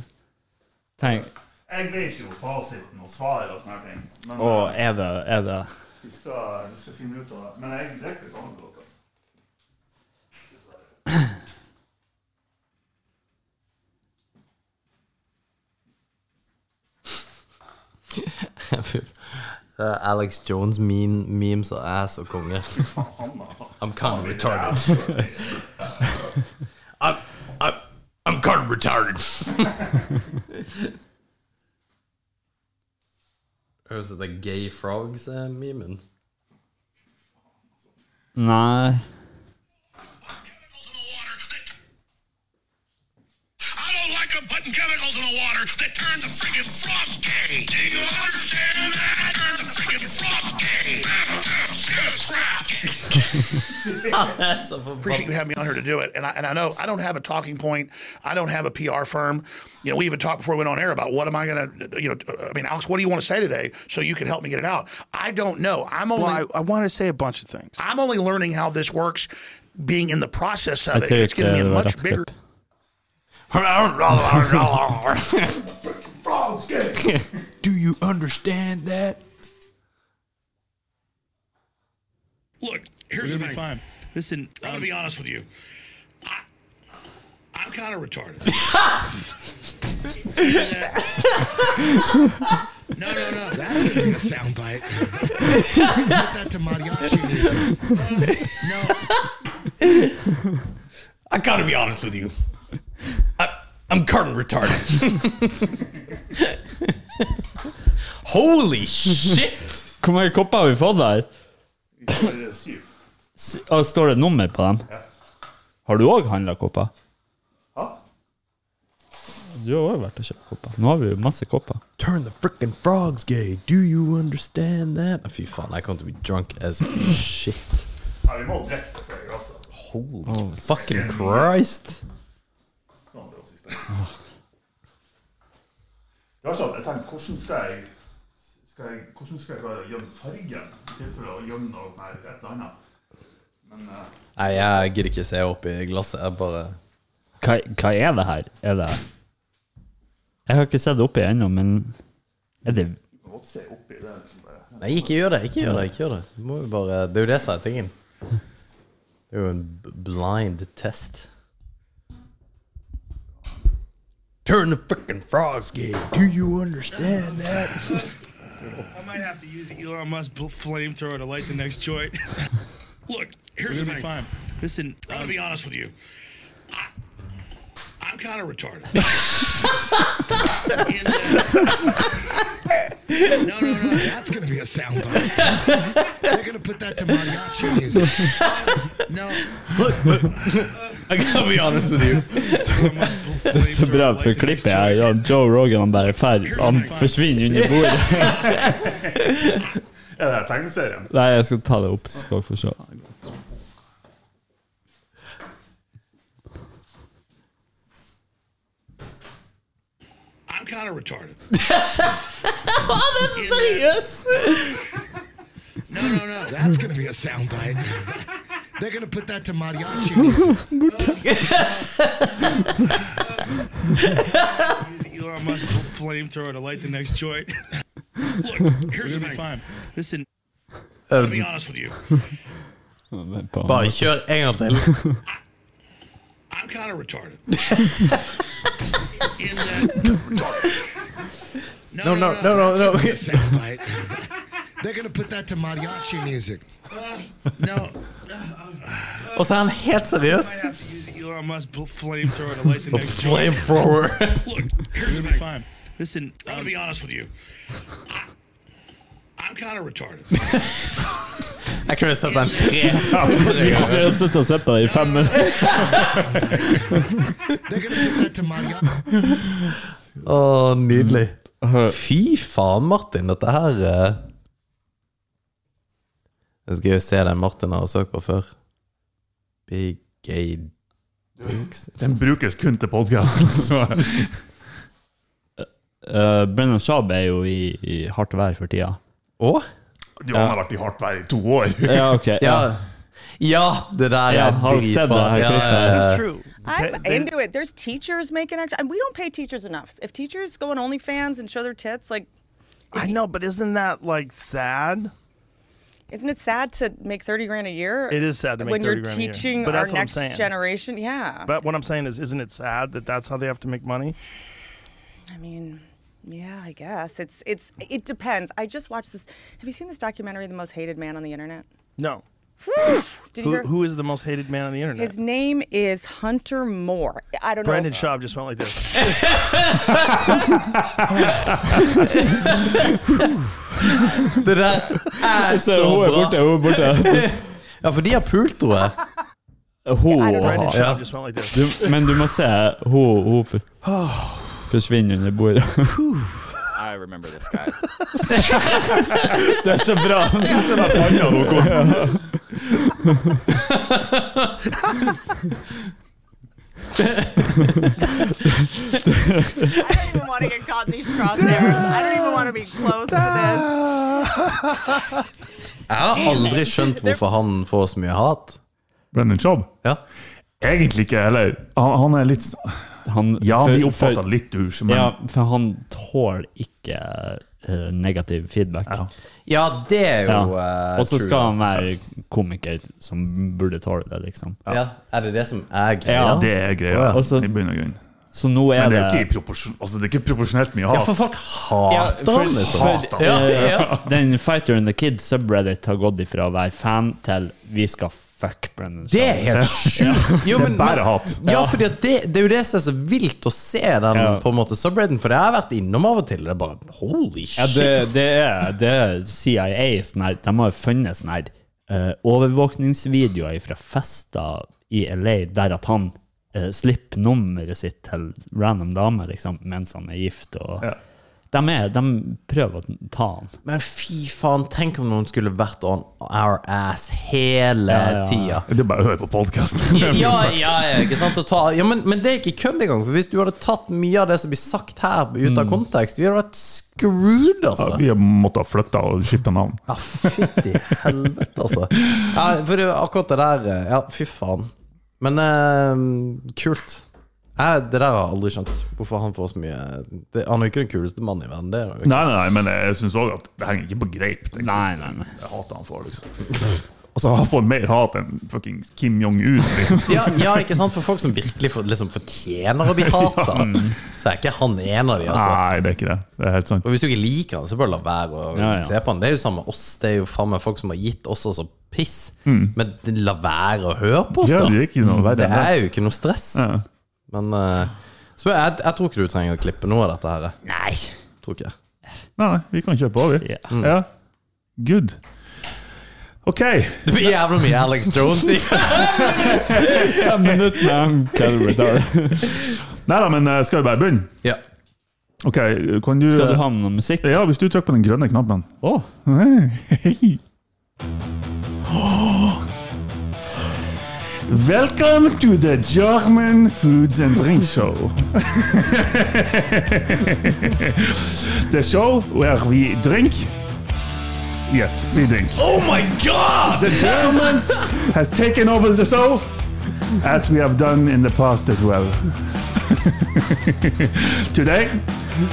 Speaker 8: tenk
Speaker 7: Jeg vet jo fasiten og svaret og sånne ting, men eh,
Speaker 8: Å, er det, er det
Speaker 7: vi, skal, finne ut av det. Men jeg drikker det samme som dere.
Speaker 6: Uh, Alex Jones mean memes og ass og konge. I'm kind of retarded. I'm, I'm, I'm kind of retarded. Høres ut som Gay eh, Frogs-memen.
Speaker 8: Nei.
Speaker 9: chemicals in a water that. I don't like them putting chemicals in the water that turn the freaking frogs gay. Do you understand that? Turn the freaking frogs gay. Crap. appreciate you having me on here to do it. And I, and I know I don't have a talking point. I don't have a PR firm. You know, we even talked before we went on air about what am I going to, you know, I mean, Alex, what do you want to say today so you can help me get it out? I don't know. I'm only.
Speaker 10: Well, I, I want to say a bunch of things.
Speaker 9: I'm only learning how this works, being in the process of
Speaker 8: Jeg
Speaker 9: it.
Speaker 8: tror
Speaker 9: It's
Speaker 8: ikke
Speaker 9: giving me a
Speaker 8: det var
Speaker 9: much
Speaker 8: rett
Speaker 9: bigger.
Speaker 8: klipp.
Speaker 10: Do you understand that?
Speaker 9: Look, here's the thing.
Speaker 10: Listen,
Speaker 9: I'm gonna be honest with you. I, I'm kind of retarded. no, no, no. That's gonna be a soundbite. Put that to mariachi music. no. I gotta be honest with you. I, I'm kind of retarded.
Speaker 6: Holy shit!
Speaker 8: Hvor mange kopper har vi fått der?
Speaker 7: Det er sykt.
Speaker 8: S- Og står det nummer på dem? Har du òg handla kopper?
Speaker 7: Ja.
Speaker 8: Du har òg vært og kjøpt kopper. Nå har vi jo masse kopper.
Speaker 6: Turn the frickin' frogs gay. Do you understand that? Fy faen, jeg kommer til å bli drunk as shit. Oh,
Speaker 7: Ja, vi må drikke det, sier jeg også.
Speaker 6: Holy fucking Christ.
Speaker 7: Sånn, det var siste. Det var sånn, jeg tenkte, hvordan skal jeg, skal jeg, hvordan skal jeg klare å gjemme fargen, i tilfelle å gjemme noe sånn her, et eller annet. Men
Speaker 9: uh,
Speaker 7: eh,
Speaker 6: Nei, jeg gidder ikke se opp i glasset. Jeg bare
Speaker 8: Hva, hva er det her? Er det Jeg har ikke sett det oppi ennå, men er det
Speaker 7: du kan godt se oppi det, liksom bare.
Speaker 6: Nei, ikke gjør det. Ikke gjør det. ikke gjør Det Du må jo bare Det er jo det som er tingen. Det er jo en b- blind test. Turn the fucking frogs gay. Do you understand that?
Speaker 9: I might have to use Elon Musk flamethrower to light the next joint. Look, here's the thing. um,
Speaker 10: Listen,
Speaker 9: I'm gonna be honest with you. I, I'm kind of retarded. And, uh, no, no, no. That's gonna be a soundbite. They're gonna put that to mariachi music. No.
Speaker 6: I gotta be honest with you.
Speaker 9: Det
Speaker 8: Så bra for klippet her. Ja, Joe Rogan han bare fer, han forsvinner under bordet.
Speaker 7: Er det her tegneserien?
Speaker 8: Nei, jeg skal ta det opp, så skal vi få se.
Speaker 9: kind of retarded.
Speaker 6: Seriøst?
Speaker 11: No, no, no. That's going to be a soundbite. They're going to put that to mariachi music.
Speaker 10: Elon Musk will flamethrower to light the next joint.
Speaker 9: Look, here's the
Speaker 10: It'll be
Speaker 9: thing.
Speaker 10: fine. Listen,
Speaker 11: Uh,
Speaker 9: I'll be honest with you.
Speaker 6: Bare kjør en gang til.
Speaker 9: I'm kind of retarded. In that,
Speaker 6: No, no, no, no, no.
Speaker 11: Soundbite. They're going to put that to mariachi music.
Speaker 9: Uh,
Speaker 10: no.
Speaker 6: Og så er han helt seriøs.
Speaker 10: I have to use Elon Musk bl- flamethrower to light the next joint.
Speaker 6: Flame forward.
Speaker 9: look, here's the
Speaker 10: It'll be
Speaker 9: thing.
Speaker 10: fine. Listen,
Speaker 9: I'm
Speaker 10: um,
Speaker 9: gonna be honest with you. I, I'm kind of retarded.
Speaker 6: Jeg kunne sett den tre.
Speaker 8: Jeg har sittet og sett på det i fem minutter.
Speaker 11: They're going to put that to mariachi.
Speaker 6: Å, nydelig. Fy faen, Martin, dette her eh. Det er så gøy å se den Martin har søkt på før. Big gay dicks.
Speaker 7: Den brukes kun til podkasten, så
Speaker 8: Uh, Brennan Schaub er jo i, i hardt vær for tida.
Speaker 6: Å?
Speaker 7: Du han har vært i hardt vær i to år.
Speaker 8: Ja, ok.
Speaker 6: Ja. ja, det der
Speaker 8: Ja,
Speaker 6: er
Speaker 8: har du sett
Speaker 6: dritbra.
Speaker 8: det her
Speaker 6: Ja,
Speaker 8: klippet?
Speaker 6: ja, ja.
Speaker 10: it's true.
Speaker 12: I'm
Speaker 10: They-
Speaker 12: into it. There's teachers making extra. and We don't pay teachers enough. If teachers go on OnlyFans and show their tits, like,
Speaker 10: I know, but isn't that like sad?
Speaker 12: isn't it sad to make thirty grand a year?
Speaker 10: It is sad to make
Speaker 12: when
Speaker 10: 30
Speaker 12: you're
Speaker 10: grand a year.
Speaker 12: teaching
Speaker 10: But
Speaker 12: our
Speaker 10: that's what I'm
Speaker 12: next
Speaker 10: saying.
Speaker 12: generation. Yeah.
Speaker 10: But what I'm saying is, isn't it sad that that's how they have to make money?
Speaker 12: I mean, yeah, I guess it's it's it depends. I just watched this. Have you seen this documentary, The Most Hated Man on the Internet?
Speaker 10: No.
Speaker 12: Did you
Speaker 10: Who,
Speaker 12: hear?
Speaker 10: who is the most hated man on the internet?
Speaker 12: His name is Hunter Moore. I don't
Speaker 10: Brandon
Speaker 12: know.
Speaker 10: Schaub just went like this.
Speaker 6: Det der er så bra.
Speaker 8: hun er borte.
Speaker 6: Ja, for de har pult, tror jeg.
Speaker 10: Brandon
Speaker 8: Hun
Speaker 10: Schaub just went like this.
Speaker 8: du, Men du må se hun, hun for, forsvinner under bordet.
Speaker 5: I remember this guy.
Speaker 8: Det er så bra!
Speaker 12: I don't even want to get caught in these crosshairs. I don't even want to be close to
Speaker 6: Jeg har aldri skjønt hvorfor han får så mye hat.
Speaker 7: Brennan Schaub?
Speaker 6: Ja.
Speaker 7: Egentlig ikke heller. Han, han er litt
Speaker 8: Han,
Speaker 7: Ja,
Speaker 8: for-
Speaker 7: vi oppfatter
Speaker 8: for-
Speaker 7: han litt douche, men
Speaker 8: Ja, for han tåler ikke eh, negativ feedback.
Speaker 7: Ja.
Speaker 6: Ja, det er jo
Speaker 8: Ja.
Speaker 6: eh,
Speaker 8: Og så
Speaker 6: true.
Speaker 8: skal han være komiker som burde tåle det, liksom.
Speaker 6: ja. Er det det som er greia?
Speaker 8: Ja.
Speaker 7: det er greia.
Speaker 8: Ja, altså-
Speaker 7: i bunn og grunn.
Speaker 8: Så nå er
Speaker 7: Men det
Speaker 8: det
Speaker 7: er jo ikke, i proporsjon, altså, det er ikke proporsjonelt mye
Speaker 6: Ja, for
Speaker 7: hat.
Speaker 6: folk hater
Speaker 8: for-
Speaker 6: han, liksom.
Speaker 8: for,
Speaker 6: ja,
Speaker 8: eh,
Speaker 6: ja.
Speaker 8: Den Fighter and the Kid subreddit har gått ifra å være fan til vi skal fuck Brennan
Speaker 6: Det
Speaker 8: Schaub.
Speaker 6: er helt sjukt. Jo, men-
Speaker 7: Bare
Speaker 6: men-
Speaker 7: hat.
Speaker 6: Ja, fordi at det, det er jo det som er så vilt å se den
Speaker 8: Ja.
Speaker 6: på en måte subredden, for jeg har vært innom av og til, og det er bare holy shit.
Speaker 8: Ja, det, det, er, det er CIA. Sånn her, de har jo funnet sånn her eh, overvåkningsvideoer fra fester i LA der at han eh, slipper nummeret sitt til random damer liksom, mens han er gift. Og,
Speaker 7: Ja.
Speaker 8: de, er, de prøver å ta han.
Speaker 6: Men fy faen, tenk om noen skulle vært on our ass hele
Speaker 8: Ja, ja, ja.
Speaker 6: tida.
Speaker 7: Det er bare å høre på podkasten.
Speaker 6: Ja, ja, ja, ikke sant? Å ta, ja, men, men det er ikke kødd engang, for hvis du hadde tatt mye av det som blir sagt her, ut av kontekst, vi hadde vært screwed, altså.
Speaker 7: Vi måtte ha flytta og skifta navn.
Speaker 6: Ja, Ah, fytti helvete, altså. Ja, for det, akkurat det der eh, Ja, fy faen. Men eh, kult. Jeg, det der har jeg aldri skjønt. Hvorfor han får så mye det, Han er jo ikke den kuleste mannen i verden. Det er han jo ikke.
Speaker 7: Nei, nei, nei, men jeg syns òg at det henger ikke på greip. tenker
Speaker 8: Nei, nei, nei.
Speaker 7: Jeg hater han for, liksom. Altså, han får mer hat enn fucking Kim Jong-un, liksom.
Speaker 6: Ja, ja, ikke sant? For folk som virkelig for, liksom, fortjener å bli hata, så er ikke han en av de, altså.
Speaker 7: Nei, det er ikke det. Det er helt sant.
Speaker 6: Og hvis du ikke liker han, så bare la være å
Speaker 8: Ja, ja.
Speaker 6: se på han. Det er jo samme med oss. Det er jo faen meg folk som har gitt oss også piss. Men la være å høre på oss,
Speaker 7: Mm.
Speaker 6: da.
Speaker 7: Ja, det er ikke noe verre
Speaker 6: Det
Speaker 7: enn det.
Speaker 6: er jo ikke noe stress.
Speaker 7: Ja.
Speaker 6: Men eh, så jeg, jeg tror ikke du trenger å klippe noe av dette her. Nei. Tror ikke.
Speaker 7: Nei, nei, vi kan kjøre på, vi.
Speaker 8: Ja.
Speaker 7: Ja. Good. OK.
Speaker 6: Det blir jævla mye Alex Jones i.
Speaker 8: Fem minutter med han Calvary Tower.
Speaker 7: Nei da, men eh, skal vi bare begynne?
Speaker 6: ja.
Speaker 7: OK, kan du
Speaker 8: Skal du ha med noe musikk?
Speaker 7: Ja, hvis du trykker på den grønne knappen.
Speaker 8: Åh,
Speaker 7: Hei. Welcome to the German Foods and Drink Show. the show where we drink. Yes, we drink.
Speaker 5: Oh my God!
Speaker 7: The Germans has taken over the show, as we have done in the past as well. Today,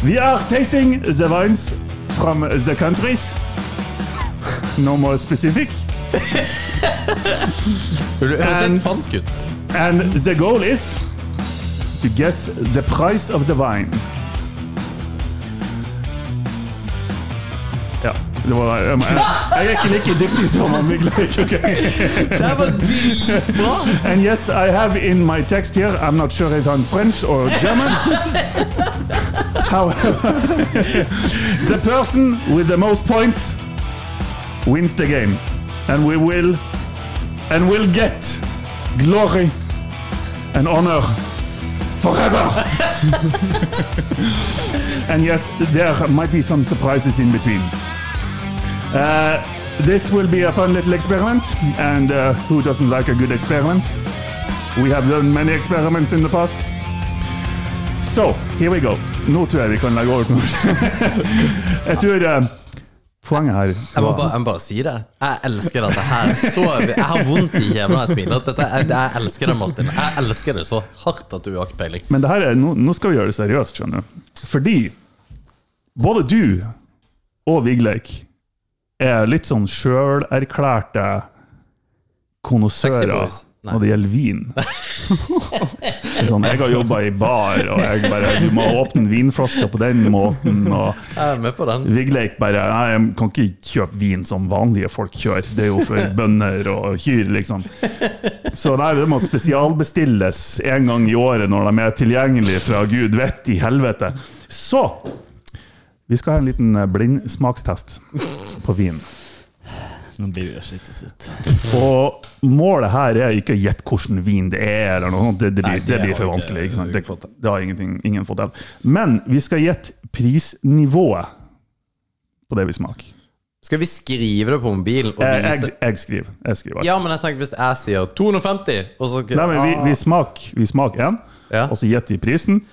Speaker 7: we are tasting the wines from the countries. No more specific.
Speaker 6: høres litt fransk ut.
Speaker 7: And the goal is to guess the price of the wine. Ja, det var Jeg, jeg er ikke like dyktig som han Migleik.
Speaker 5: Det var dritbra!
Speaker 7: And yes, I have in my text here, I'm not sure if I'm French or German. However, the person with the most points wins the game, and we will and will get glory and honor forever. and yes, there might be some surprises in between. Uh, this will be a fun little experiment, and uh, who doesn't like a good experiment? We have done many experiments in the past. So, here we go. Nå tror jeg vi kan legge over på Jeg tror eh, poenget her
Speaker 6: Jeg må
Speaker 7: var-
Speaker 6: bare, jeg må bare si det. Jeg elsker dette her så Jeg har vondt i kjeven når jeg smiler. Dette, jeg, jeg elsker det, Martin. Jeg elsker det så hardt at du har ikke peiling.
Speaker 7: Men det her er, nå, nå skal vi gjøre det seriøst, skjønner du. Fordi både du og Vigleik er litt sånn sjølerklærte
Speaker 6: Sexy
Speaker 7: konnoissører
Speaker 6: boys. Nei.
Speaker 7: når det gjelder vin. Det er sånn, jeg har jobba i bar, og jeg bare Du må åpne vinflaska på den måten. Og
Speaker 6: Jeg er med på den.
Speaker 7: Vigleik bare Nei, jeg kan ikke kjøpe vin som vanlige folk kjører. Det er jo for bønder og kyr, liksom. Så nei, det må spesialbestilles en gang i året når de er tilgjengelige fra gud vet i helvete. Så vi skal ha en liten eh, blindsmakstest på vin.
Speaker 8: Nå blir vi jo slitt oss ut.
Speaker 7: Og målet her er ikke å gjette hvilken vin det er, eller noe sånt. Det, det, blir-
Speaker 8: Nei,
Speaker 7: det
Speaker 8: det
Speaker 7: blir
Speaker 8: har
Speaker 7: for
Speaker 8: ikke-
Speaker 7: vanskelig. Ikke sant? Det, det har ingenting, ingen fått til. Men vi skal gjette prisnivået på det vi smaker.
Speaker 6: Skal vi skrive det på mobilen? Og
Speaker 7: Jeg,
Speaker 6: vise?
Speaker 7: Eh, jeg, jeg skriver. Jeg skriver.
Speaker 6: Ja, men jeg tenker hvis jeg sier 250, og så
Speaker 7: Nei, men vi,
Speaker 6: Ah.
Speaker 7: vi smaker vi smak én, og så gjetter vi prisen.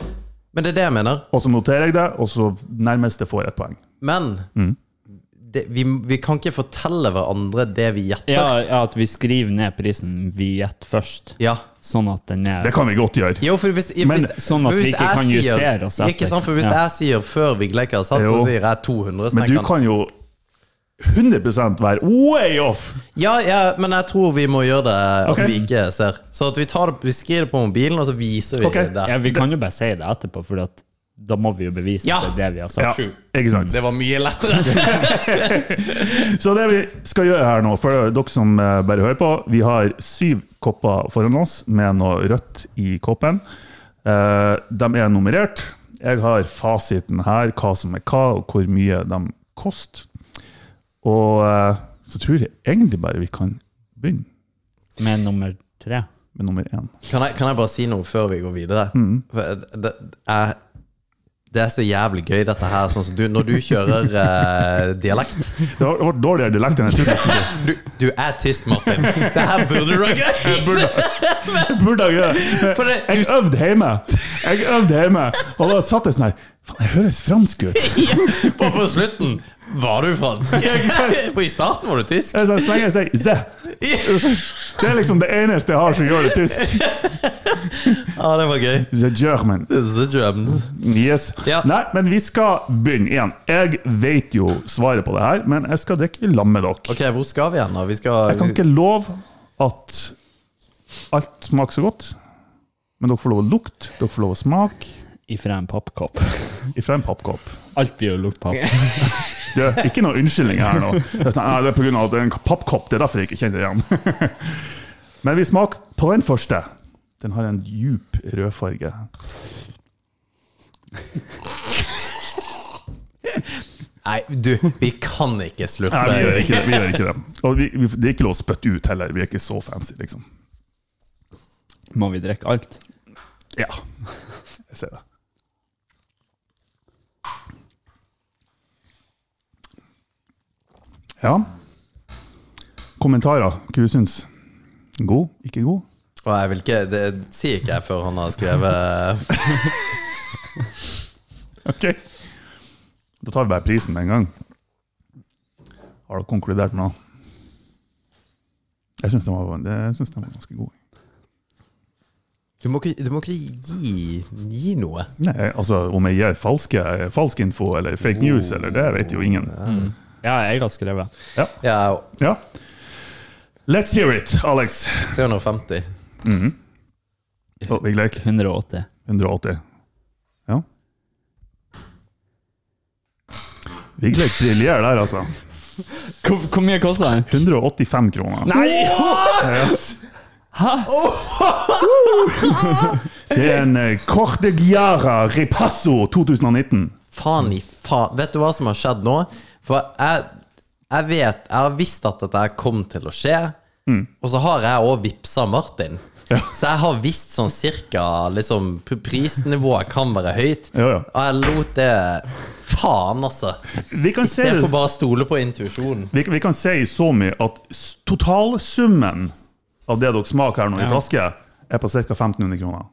Speaker 6: Men det er det jeg mener.
Speaker 7: Og så noterer jeg det, og så nærmeste får et poeng.
Speaker 6: Men
Speaker 7: Mm.
Speaker 6: det, vi, vi kan ikke fortelle hverandre det vi gjetter.
Speaker 8: Ja, ja, at vi skriver ned prisen vi gjetter først. Sånn at den er
Speaker 7: Det kan vi godt gjøre.
Speaker 6: Jo, for hvis, hvis,
Speaker 8: Men sånn at
Speaker 6: hvis
Speaker 8: vi ikke
Speaker 6: jeg
Speaker 8: kan
Speaker 6: sier-
Speaker 8: justere oss
Speaker 6: Ikke
Speaker 8: etter.
Speaker 6: sant, for hvis
Speaker 8: Ja.
Speaker 6: jeg sier før vi glekker, sant, så
Speaker 7: Jo.
Speaker 6: sier jeg 200. så
Speaker 7: Men
Speaker 6: tenker
Speaker 7: du
Speaker 6: han,
Speaker 7: kan jo 100 være way off!
Speaker 6: Ja, ja, men jeg tror vi må gjøre det at
Speaker 7: Ok.
Speaker 6: vi ikke ser. Så at vi, tar det, vi skriver det på mobilen, og så viser vi det.
Speaker 8: Ja, vi kan jo bare si det etterpå, for at da må vi jo bevise
Speaker 6: Ja.
Speaker 8: at det er det vi har sagt.
Speaker 6: True.
Speaker 7: Ikke sant?
Speaker 6: Det var mye lettere.
Speaker 7: Så det vi skal gjøre her nå, for dere som eh, bare hører på, vi har syv kopper foran oss med noe rødt i koppen. Eh, De er nummerert. Jeg har fasiten her, hva som er hva, og hvor mye de koster. Og eh, så tror jeg egentlig bare vi kan begynne
Speaker 8: Med nummer tre.
Speaker 7: med nummer én.
Speaker 6: Kan jeg, kan jeg bare si noe før vi går videre?
Speaker 8: Mm.
Speaker 6: For eh, Det, det, er, det er så jævlig gøy, dette her. Sånn som du, når du kjører eh, dialekt
Speaker 7: Det var, det var dårligere dialekt enn jeg trodde. jeg skulle.
Speaker 6: du, du er tysk, Martin. Det her burde du ha
Speaker 7: Jeg burde- jeg burde ha gjort det.
Speaker 6: For det-
Speaker 7: Jeg øvde hjemme. Jeg øvde hjemme, og da satt jeg sånn her Faen, jeg høres fransk ut!
Speaker 6: greid på på slutten. Var du fransk? På I starten var du tysk.
Speaker 7: Jeg sa, så lenge jeg sier 'ze'. Det er liksom det eneste jeg har som gjør det tysk.
Speaker 6: Ja, det var gøy.
Speaker 7: The German.
Speaker 6: The Germans.
Speaker 7: Yes. Nei, men vi skal begynne igjen. Jeg vet jo svaret på det her, men jeg skal drikke i lag med dere.
Speaker 6: Ok, hvor skal vi hen, da? Vi skal
Speaker 7: Jeg kan ikke love at alt smaker så godt, men dere får lov å lukte, dere får lov å smake.
Speaker 8: Ifra en pappkopp.
Speaker 7: Ifra en pappkopp.
Speaker 8: Alt blir jo lukt papp.
Speaker 7: Det er ikke noe unnskyldning her nå. Det er, sånn, «Nei, det er på grunn av at det er en pappkopp, det er derfor jeg ikke kjenner det igjen. Men vi smaker på den første. Den har en djup rødfarge.
Speaker 6: Nei, du, vi kan ikke slutte.
Speaker 7: Nei, vi gjør ikke det. Vi gjør ikke det. Og vi, vi, det er ikke lov å spytte ut heller. Vi er ikke så fancy, liksom.
Speaker 8: Må vi drikke alt?
Speaker 7: Ja. Jeg ser det. Ja. Kommentarer. Hva du syns? God? Ikke god?
Speaker 6: Og jeg vil ikke Det sier ikke jeg før han har skrevet
Speaker 7: Ok. Da tar vi bare prisen med en gang. Har du konkludert med noe? Jeg syns den, var- jeg synes den var ganske god.
Speaker 6: Du må ikke, du må ikke gi, gi noe.
Speaker 7: Nei, altså Om jeg gir falske, falsk info eller fake news, eller det vet jo ingen.
Speaker 8: Ja, jeg har skrevet.
Speaker 7: Ja. ja. Let's hear it, Alex.
Speaker 6: 350.
Speaker 7: Mhm. Og Vigleik?
Speaker 8: 180.
Speaker 7: 180. Ja. Vigleik briljerer der, altså.
Speaker 8: Hvor, mye koster den?
Speaker 7: 185 kroner.
Speaker 8: Hæ?
Speaker 7: Det er en eh, Corte Giara Ripasso 2019.
Speaker 6: Faen i faen. Vet du hva som har skjedd nå? For jeg, jeg vet Jeg har visst at dette her kom til å skje.
Speaker 7: Mm.
Speaker 6: Og så har jeg òg vippsa Martin. Så jeg har visst sånn cirka liksom, p- Prisnivået kan være høyt. Og jeg lot det Faen, altså.
Speaker 7: Vi kan se det-
Speaker 6: Istedenfor bare å stole på intuisjonen.
Speaker 7: Vi, vi kan si så mye at s- totalsummen av det dere smaker her nå i
Speaker 8: Ja.
Speaker 7: flaske, er på ca. 1500 kroner.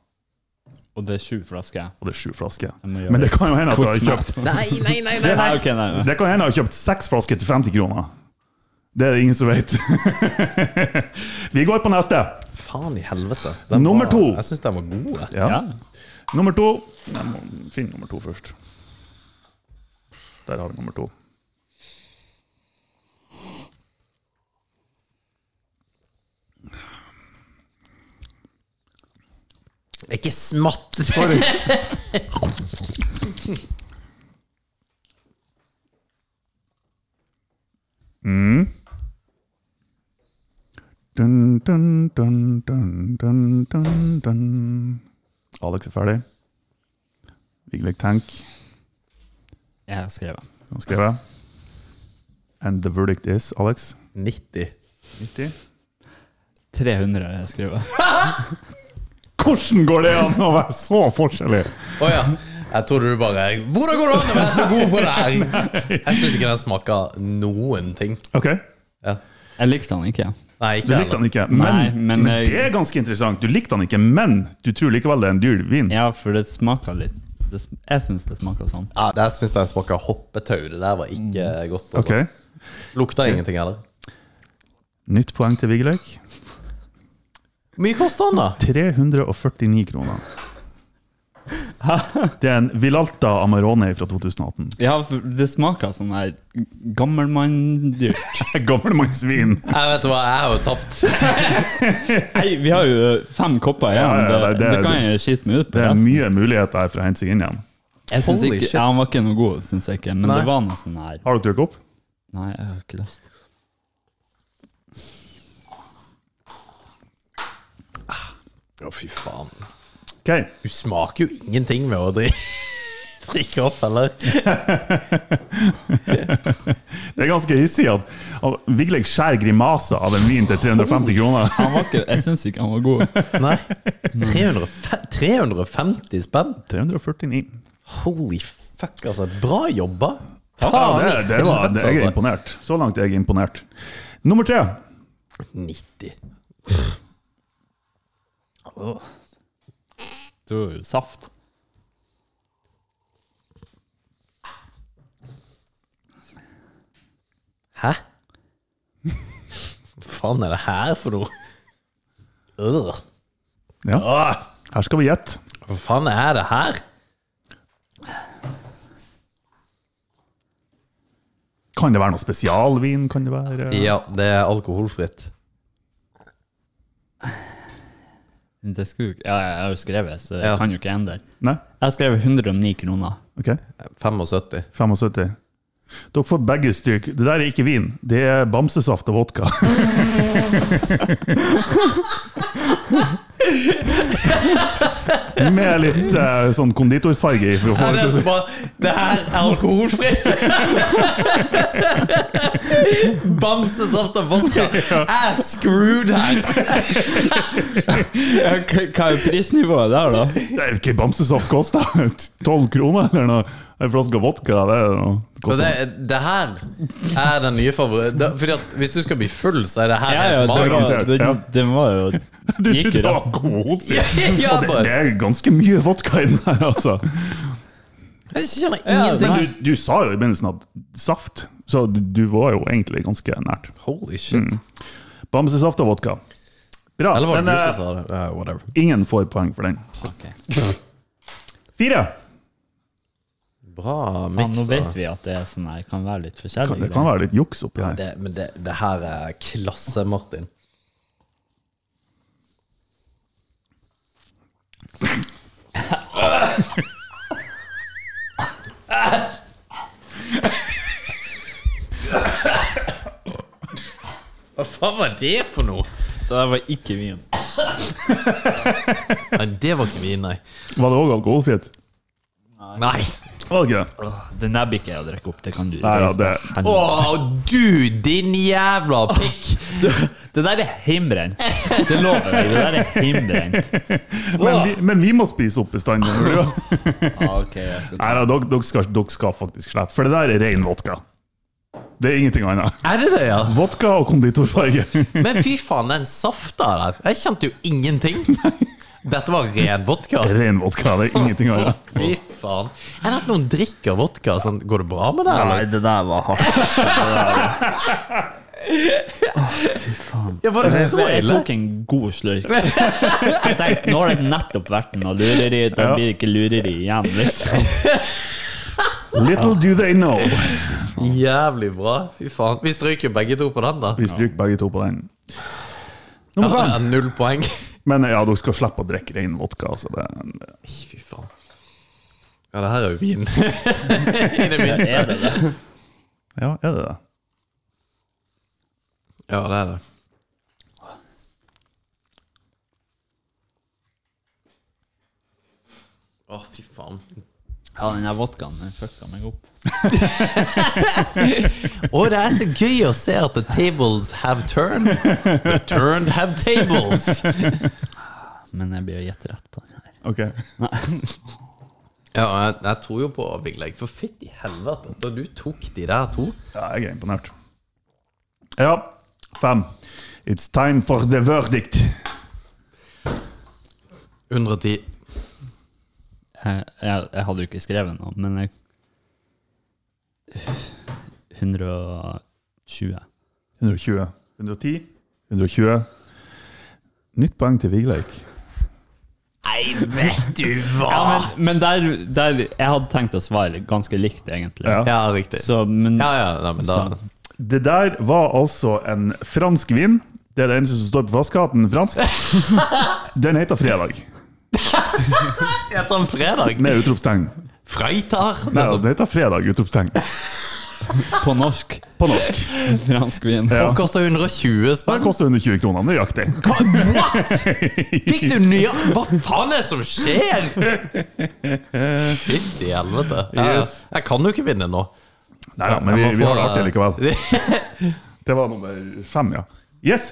Speaker 8: Og det er sju flasker.
Speaker 7: Og det er sju flasker.
Speaker 8: gjøre
Speaker 7: Men det kan jo hende at du
Speaker 8: Kort
Speaker 7: har
Speaker 8: math.
Speaker 7: kjøpt
Speaker 8: Nei, nei, nei, nei, nei. Ok, nei, nei.
Speaker 7: Det kan hende at du har kjøpt seks flasker til 50 kroner. Det er det ingen som vet. vi går på neste.
Speaker 6: Faen i helvete.
Speaker 7: Nummer
Speaker 6: var,
Speaker 7: to.
Speaker 6: Jeg syns den var god. jeg.
Speaker 7: Ja. Nummer to Jeg må finne nummer to først. Der har vi nummer to.
Speaker 6: Ikke smatt!
Speaker 7: Sorry. Mm. Dun, dun, dun, dun, dun, dun, dun. Alex er ferdig. Vigleg Tank
Speaker 8: Jeg har skrevet.
Speaker 7: har skrevet. And the verdict is, Alex
Speaker 6: 90.
Speaker 7: 90.
Speaker 8: 300 har jeg skrevet.
Speaker 7: Hvordan går det an å være så forskjellig?
Speaker 6: Å ja. Jeg trodde du bare Hvordan går det an å være så god på det her? Jeg syns ikke den smaker noen ting.
Speaker 7: Ok.
Speaker 8: Jeg likte den ikke.
Speaker 6: Nei,
Speaker 7: Du likte han ikke, men,
Speaker 8: Nei,
Speaker 7: men,
Speaker 8: men, eh, jeg-
Speaker 7: det er ganske interessant. Du likte han ikke, men du tror likevel det er en dyr vin.
Speaker 8: Ja, for det smaker litt det, sm- Jeg syns det smaker sånn.
Speaker 6: Ja, Jeg syns den smaker hoppetau. Det der var ikke godt. Altså.
Speaker 7: Mm. Ok.
Speaker 6: Lukta ingenting heller.
Speaker 7: Nytt poeng til Vigleik.
Speaker 6: Hvor mye koster den, da?
Speaker 7: 349 kroner. Det er en Vilalta Amarone fra 2018.
Speaker 8: Ja, for det smaker sånn her gammelmanndyrt.
Speaker 7: Gammelmannsvin.
Speaker 6: Jeg vet hva, jeg har jo tapt.
Speaker 8: Nei, vi har jo fem kopper igjen.
Speaker 7: Ja, ja, det-
Speaker 8: det, det,
Speaker 7: det-
Speaker 8: kan jeg skite meg ut på.
Speaker 7: Det er
Speaker 8: resten.
Speaker 7: mye muligheter her for å hente seg inn igjen.
Speaker 8: Jeg synes
Speaker 6: Holy
Speaker 8: ikke,
Speaker 6: shit.
Speaker 8: ja, Han var ikke noe god, syns jeg ikke. Men
Speaker 6: Nei.
Speaker 8: det var noe sånn her
Speaker 7: Har dere drukket opp?
Speaker 8: Nei, jeg har ikke lyst.
Speaker 6: Å, fy faen.
Speaker 7: Ok,
Speaker 6: Du smaker jo ingenting med å dri- drikke opp, eller?
Speaker 7: Det er ganske hissig at at Vigleik skjærer grimaser av en vin til 350 kroner.
Speaker 8: Han var ikke, jeg syns ikke han var god.
Speaker 6: Nei. 305 350 spenn?
Speaker 7: 349.
Speaker 6: Holy fuck, altså. Bra jobba.
Speaker 7: Ja, det, det var, det, jeg
Speaker 6: altså.
Speaker 7: er imponert. Så langt er jeg imponert. Nummer tre.
Speaker 6: 90.
Speaker 8: Det var jo saft.
Speaker 6: Hæ? Hva faen er det her for noe? Øh,
Speaker 7: Ja. Her skal vi gjette.
Speaker 6: hva faen er det her?
Speaker 7: Kan det være noe spesialvin? Kan det være eh?
Speaker 6: Ja, det er alkoholfritt.
Speaker 8: Det skulle, jo ikke- ja, jeg har jo skrevet, så jeg
Speaker 6: Ja.
Speaker 8: kan jo ikke endre.
Speaker 7: Nei?
Speaker 8: Jeg har skrevet 109 kroner.
Speaker 7: Ok.
Speaker 6: 75.
Speaker 7: 75. Dere får begge styrk. Det der er ikke vin, det er bamsesaft og vodka. Med litt eh, sånn konditorfarge i. For å
Speaker 6: Ja,
Speaker 7: få
Speaker 6: det, er så
Speaker 7: det til.
Speaker 6: bra. det her er alkoholfritt! Bamsesaft og vodka. Jeg er screwed her!
Speaker 8: Ja, hva hva er prisnivået der, da?
Speaker 7: Det er jo ikke bamsesaft koster 12 kroner eller noe. En flaske vodka, det er noe det
Speaker 6: Og
Speaker 7: koster-
Speaker 6: det, det her er den nye favoritten. Fordi at hvis du skal bli full, så er det her
Speaker 7: Ja,
Speaker 8: ja,
Speaker 6: helt
Speaker 8: det var-
Speaker 6: magisk.
Speaker 8: det- Ja. var jo
Speaker 7: Du trodde det var god
Speaker 6: Ja, ja,
Speaker 7: Og det,
Speaker 6: bare-
Speaker 7: det er ganske mye vodka i den her, altså.
Speaker 6: Jeg skjønner
Speaker 7: Men
Speaker 6: ingenting.
Speaker 7: du, du sa jo i begynnelsen at saft, så du, du var jo egentlig ganske nært.
Speaker 6: Holy shit.
Speaker 8: Mm.
Speaker 7: Bamsesaft og vodka. Bra.
Speaker 6: Eller var det
Speaker 7: men,
Speaker 6: du
Speaker 7: eh,
Speaker 6: som sa det? Ja, whatever.
Speaker 7: Ingen får poeng for den. Fire.
Speaker 6: Bra
Speaker 8: Faen, nå
Speaker 6: miksa.
Speaker 8: vet vi at det er sånn her, kan være litt forskjellig.
Speaker 7: Det kan være litt juks oppi her.
Speaker 6: Det, men det, det her er klasse, Martin. Hva faen var det for noe?
Speaker 8: Det der var ikke vin.
Speaker 6: Nei, det var ikke vin, nei.
Speaker 7: Var det òg alkoholfritt?
Speaker 6: Nei.
Speaker 7: Var det ikke det?
Speaker 8: Åh, Den der blir ikke jeg å drikke opp, det kan du.
Speaker 7: Nei, ja, det,
Speaker 6: Å, du, din jævla pikk!
Speaker 8: Det der er heimbrent. Det lover jeg, det der er heimbrent.
Speaker 7: men, vi, men vi må spise opp bestandig. Nei,
Speaker 8: Ah, ok, jeg skal ta
Speaker 7: nei, dere, dere, skal, dere skal faktisk slippe, for det der er ren vodka. Det er ingenting annet.
Speaker 6: Er det det, ja?
Speaker 7: Vodka og konditorfarge.
Speaker 6: Men fy faen, den safta der. Jeg kjente jo ingenting. Dette var ren vodka.
Speaker 7: Ren vodka, det er ingenting annet.
Speaker 6: Fy faen. Er det at noen drikker vodka? Sånn, går det bra med det?
Speaker 8: Nei,
Speaker 6: Eller?
Speaker 8: det der var hardt.
Speaker 6: Ja, var det så
Speaker 8: Jeg
Speaker 6: ille?
Speaker 8: tok en god slurk. Jeg tenkte, nå har det nettopp vært noe lureri, da blir det ikke lureri igjen, liksom.
Speaker 7: Little do they know.
Speaker 6: Jævlig bra. Fy faen. Vi stryker begge to på den, da.
Speaker 7: Vi stryker begge to på den. Nummer
Speaker 6: Ja,
Speaker 7: fem.
Speaker 6: null poeng.
Speaker 7: Men ja, dere skal slippe å drikke ren vodka. Altså det,
Speaker 6: Fy faen. Ja, det her er jo vin. I det minste.
Speaker 8: Er det det?
Speaker 7: ja, er det det?
Speaker 6: Ja, det er det. Å, fy faen.
Speaker 8: Ja, den der vodkaen, den fucka meg opp.
Speaker 6: Å, det er så gøy å se at the tables have turned. The turned have tables.
Speaker 8: Men jeg blir jo gjett rett på den her.
Speaker 7: Ok.
Speaker 6: Ja, jeg, jeg tror jo på avvikling. For fytti helvete, da du tok de der to.
Speaker 7: Ja, jeg er imponert. Ja, fem. It's time for the verdict.
Speaker 6: 110.
Speaker 8: Jeg, jeg, jeg hadde jo ikke skrevet noe, men jeg 120.
Speaker 7: 120. 110. 120. Nytt poeng til Vigleik.
Speaker 6: Nei, vet du
Speaker 8: Ja,
Speaker 6: hva!
Speaker 8: men, men der, der Jeg hadde tenkt å svare ganske likt, egentlig.
Speaker 7: Ja.
Speaker 6: Ja, riktig.
Speaker 8: Så, men
Speaker 6: Ja, ja, nei, men da
Speaker 7: Det der var altså en fransk vin. Det er det eneste som står på flaska, at den er fransk. Den heter Fredag,
Speaker 6: Heter han fredag?
Speaker 7: med utropstegn.
Speaker 6: Freitar?
Speaker 7: Nei, altså, den heter Fredag, utropstegn.
Speaker 8: på norsk
Speaker 7: På norsk.
Speaker 8: Fransk vin.
Speaker 7: Ja.
Speaker 6: Den koster 120
Speaker 7: Den
Speaker 6: spenn.
Speaker 7: koster 120 kroner, nøyaktig.
Speaker 6: Hva- What?! Fikk du nye Hva faen er det som skjer?! Fytti helvete. Jeg,
Speaker 7: Yes.
Speaker 6: jeg kan jo ikke vinne nå.
Speaker 7: Nei, ja, men vi,
Speaker 6: Jeg må
Speaker 7: vi
Speaker 6: få-
Speaker 7: har det artig likevel. Det var nummer fem, ja. Yes!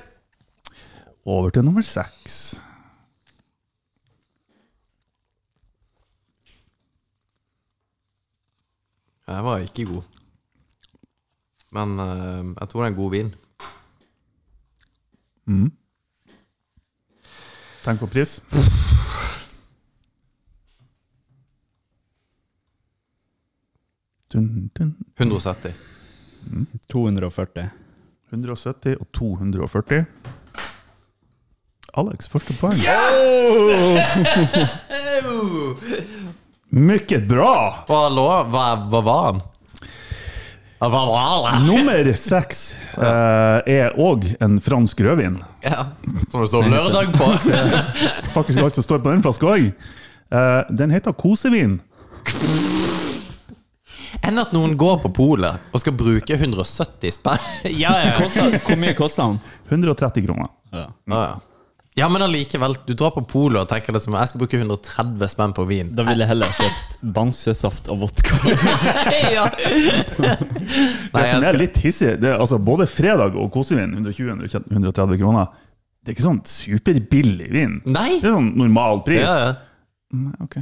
Speaker 7: Over til nummer seks.
Speaker 6: Jeg var ikke god. Men eh, jeg tror det er en god vin.
Speaker 7: Tenk på pris. Dun, dun.
Speaker 6: 170.
Speaker 8: 240.
Speaker 7: 170 og 240. Alex, første poeng. Mycket bra!
Speaker 6: Hva lå Hva, hva var han? Ja, Hva var han?
Speaker 7: Nummer seks eh, er òg en fransk rødvin.
Speaker 6: Ja, som det står lørdag på.
Speaker 7: Faktisk alt som står på den flaska òg. den heter kosevin.
Speaker 6: Enn at noen går på polet og skal bruke 170 spenn. Ja, ja.
Speaker 8: Kosta- Hvor mye kosta den?
Speaker 7: 130 kroner.
Speaker 6: Ja, ja. ja, men allikevel. Du drar på polet og tenker liksom, jeg skal bruke 130 spenn på vin.
Speaker 8: Da ville jeg heller kjøpt bamsesaft og vodka.
Speaker 6: ja. Nei,
Speaker 7: det som
Speaker 6: jeg
Speaker 7: sånn er
Speaker 6: skal,
Speaker 7: litt hissig, det er altså både fredag og kosevin, 120-130 kroner, det er ikke sånn superbillig vin.
Speaker 6: Nei.
Speaker 7: Det er sånn normal pris.
Speaker 6: ja, ja.
Speaker 7: Ok.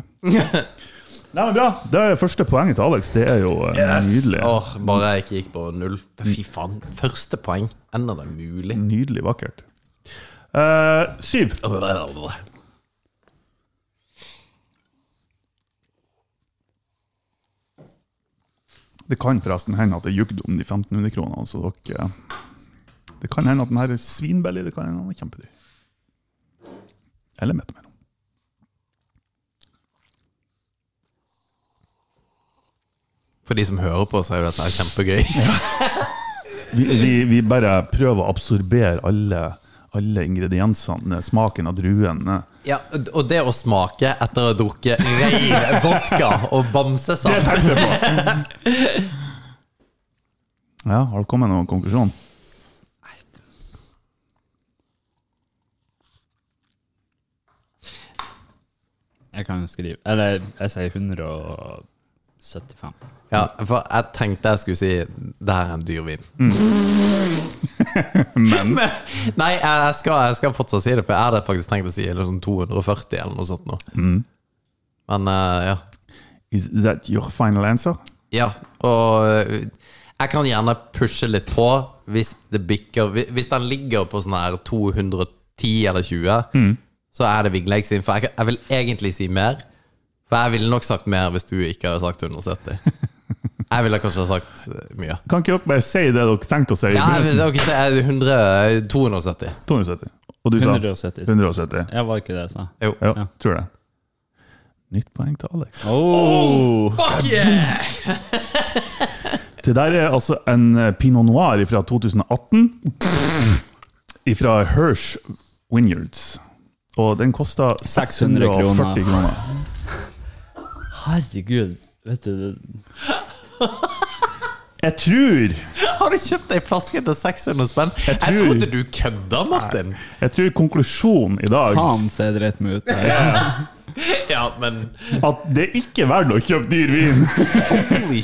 Speaker 7: Nei, men bra. Det er første poenget til Alex. Det er jo eh, nydelig.
Speaker 6: Åh, bare jeg ikke gikk på null. Fy faen. Første poeng. Enda det er mulig.
Speaker 7: Nydelig vakkert. Eh, syv. Det kan forresten hende at jeg jugde om de 1500 kronene. Så dere, eh, det kan hende at den her er svinbillig. Det kan hende den er kjempedyr. Eller midt mellom.
Speaker 6: For de som hører på, så er jo dette her kjempegøy.
Speaker 7: Vi, vi, vi bare prøver å absorbere alle, alle ingrediensene, smaken av eh, druene.
Speaker 6: Ja, og det å smake etter å ha drukket rein vodka og bamsesaft
Speaker 7: Det Ja, har du kommet med noen konklusjon?
Speaker 8: Jeg kan skrive Eller jeg sier 175.
Speaker 6: Ja, for jeg tenkte jeg skulle si det her er en dyr vin.
Speaker 7: Mm. Men
Speaker 6: Nei, jeg skal, jeg skal fortsatt si det, for jeg hadde faktisk tenkt å si liksom 240 eller noe sånt. Nå.
Speaker 7: Mm.
Speaker 6: Men eh, ja.
Speaker 7: Is that your final answer?
Speaker 6: Ja, og eh, jeg kan gjerne pushe litt på hvis det bikker hvi- Hvis den ligger på sånn her 210 eller 20,
Speaker 7: Mhm.
Speaker 6: så er det Vigleik sin. For jeg, kan- jeg vil egentlig si mer. For jeg ville nok sagt mer hvis du ikke hadde sagt 170. Jeg ville kanskje ha sagt eh, mye.
Speaker 7: Kan ikke dere bare si det dere tenkte å si? i
Speaker 6: Ja, jeg,
Speaker 7: begynnelsen?
Speaker 6: vil- eh, ok, så er det 100, 270.
Speaker 7: 270. Og du sa?
Speaker 8: 170.
Speaker 7: 170.
Speaker 8: Jeg var ikke det jeg sa.
Speaker 6: Jo.
Speaker 7: Ja, tror det. Nytt poeng til Alex.
Speaker 8: Oh,
Speaker 6: fuck yeah!
Speaker 7: Det der er altså en eh, pinot noir fra 2018. Fra Hirsch Vineyards. Og den kosta
Speaker 8: 600 kroner.
Speaker 7: 640 kroner.
Speaker 8: Herregud. Vet du
Speaker 7: Jeg tror
Speaker 6: Har du kjøpt ei flaske til 600 spenn? Jeg,
Speaker 7: tror-
Speaker 6: trodde du kødda, Martin!
Speaker 7: Jeg tror konklusjonen i dag
Speaker 8: Faen, ser jeg dreit meg ut.
Speaker 7: er
Speaker 6: Ja, men
Speaker 7: at det er ikke verdt å kjøpe dyr vin.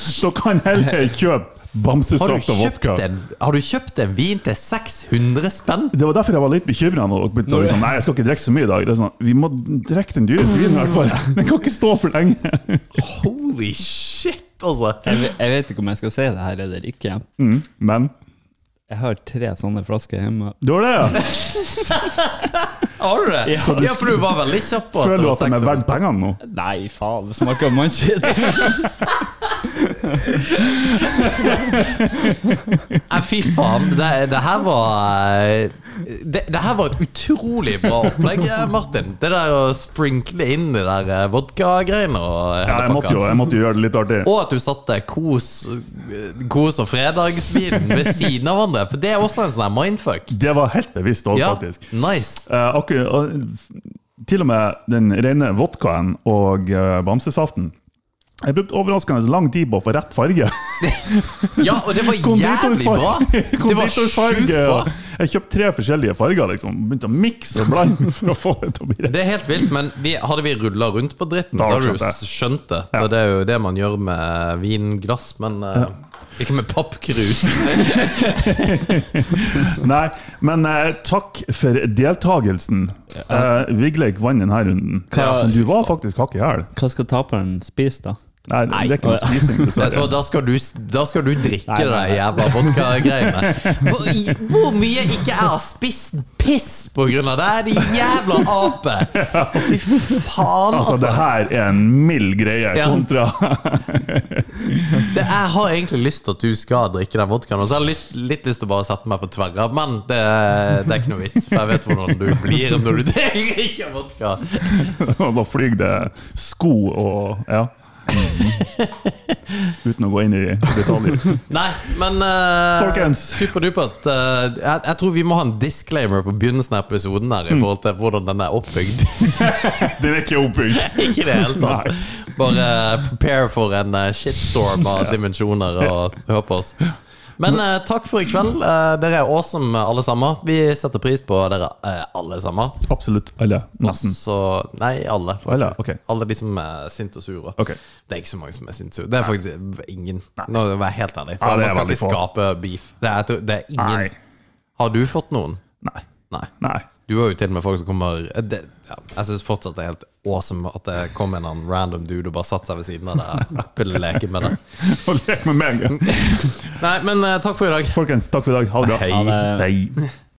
Speaker 7: Så kan heller kjøpe
Speaker 6: har du,
Speaker 7: bamsesaft og
Speaker 6: kjøpt
Speaker 7: vodka.
Speaker 6: en, har du kjøpt en vin til 600 spenn?
Speaker 7: Det var derfor jeg var litt bekymra. Liksom, nei, jeg skal ikke drikke så mye i dag. Det er sånn, vi må drikke den dyreste vinen, i hvert fall. Den kan ikke stå for lenge.
Speaker 6: Holy shit, altså!
Speaker 8: Jeg, ve- jeg vet ikke om jeg skal si det her eller ikke.
Speaker 7: Mm, men
Speaker 8: Jeg har tre sånne flasker hjemme.
Speaker 7: du har det, ja.
Speaker 6: Har du det? Ja,
Speaker 7: Så du-
Speaker 6: for du var veldig kjapp på at
Speaker 7: Føler
Speaker 6: det
Speaker 7: du
Speaker 6: var
Speaker 7: at de er
Speaker 6: 600
Speaker 7: verdt pengene nå?
Speaker 8: Nei, faen, det smaker mannskitt.
Speaker 6: Nei, fy faen. Det, det her var eh, det, det her var et utrolig bra opplegg, eh, Martin. Det der å sprinkle inn de der eh, vodka-greiene og hele
Speaker 7: Ja, jeg måtte, jo,
Speaker 6: pakka.
Speaker 7: jeg måtte jo gjøre det litt artig.
Speaker 6: Og at du satte kos, kos og fredagsvinen ved siden av hverandre. For det er også en sånn her mindfuck.
Speaker 7: Det var helt bevisst òg,
Speaker 6: Ja,
Speaker 7: faktisk.
Speaker 6: nice.
Speaker 7: Eh, akkurat, og f- til og med den rene vodkaen og eh, bamsesaften. Jeg brukte overraskende lang tid på å få rett farge.
Speaker 6: Ja, og det var jævlig bra! Det var sjukt
Speaker 7: Konditorfarge.
Speaker 6: bra.
Speaker 7: og- Jeg kjøpte tre forskjellige farger. liksom. Begynte å mikse og blande for å få det til å bli rett.
Speaker 6: Det er helt vilt, men vi, hadde vi rulla rundt på dritten,
Speaker 7: Da
Speaker 6: så
Speaker 7: hadde
Speaker 6: hadde
Speaker 7: du
Speaker 6: du s- skjønt det. For Det er jo det man gjør med vinglass, men eh, ikke med pappkrus.
Speaker 7: Nei, men eh, takk for deltakelsen. Eh, Vigleik vant denne runden.
Speaker 8: Hva-
Speaker 7: Men Du var faktisk hakk i hæl.
Speaker 8: Hva skal taperen spise, da?
Speaker 7: Nei, det er ikke noe spising,
Speaker 6: Jeg tror
Speaker 7: dessverre.
Speaker 6: da skal du, da skal du drikke
Speaker 8: Nei,
Speaker 6: det
Speaker 8: nei,
Speaker 6: der jævla vodka-greiene. Hvor, hvor mye ikke jeg har spist piss på grunn av det her, de jævla ape! Fy faen,
Speaker 7: Altså, det
Speaker 6: altså.
Speaker 7: her er en mild greie
Speaker 6: Ja.
Speaker 7: kontra
Speaker 6: Det, jeg har egentlig lyst til at du skal drikke den vodkaen, og så har jeg litt, litt lyst til å bare sette meg på tverra, men det, det er ikke noe vits, for jeg vet hvordan du blir når du drikker vodka.
Speaker 7: Og da flyr det sko og Ja. Mhm. Uten å gå inn i detaljer.
Speaker 6: Nei, men eh,
Speaker 7: Folkens.
Speaker 6: superdupert. eh, jeg, jeg tror vi må ha en disclaimer på begynnelsen av episoden her, i forhold til hvordan den er oppbygd.
Speaker 7: Den er ikke oppbygd.
Speaker 6: Ikke i det hele tatt. Bare eh, prepare for en eh, shitstorm av dimensjoner og hør på oss. Men eh, takk for i kveld. Eh, dere er awesome, eh, alle sammen. Vi setter pris på dere eh, alle sammen.
Speaker 7: Absolutt alle.
Speaker 6: Og
Speaker 7: Nesten.
Speaker 6: så Altså, Nei, alle. faktisk.
Speaker 7: Alle, ok.
Speaker 6: alle de som er sinte og sure.
Speaker 7: Ok.
Speaker 6: Det er ikke så mange som er sinte og sure. Det er faktisk ingen. Nå skal jeg være helt ærlig.
Speaker 7: Ja,
Speaker 6: For
Speaker 7: det
Speaker 6: Man
Speaker 7: er
Speaker 6: skal
Speaker 7: veldig
Speaker 6: ikke
Speaker 7: få.
Speaker 6: skape beef. Det er, det er ingen.
Speaker 7: Nei.
Speaker 6: Har du fått noen?
Speaker 7: Nei.
Speaker 6: Nei.
Speaker 7: Nei.
Speaker 6: Du Du har jo til og med folk som kommer eh, det, ja, Jeg syns fortsatt det er helt awesome at det kom en annen random dude og bare satte seg ved siden av deg og ville leke med deg.
Speaker 7: og lek med meg.
Speaker 6: Nei, men eh, takk for i dag.
Speaker 7: Folkens, takk for i dag. Ha det bra.
Speaker 6: Hei.
Speaker 7: Hei.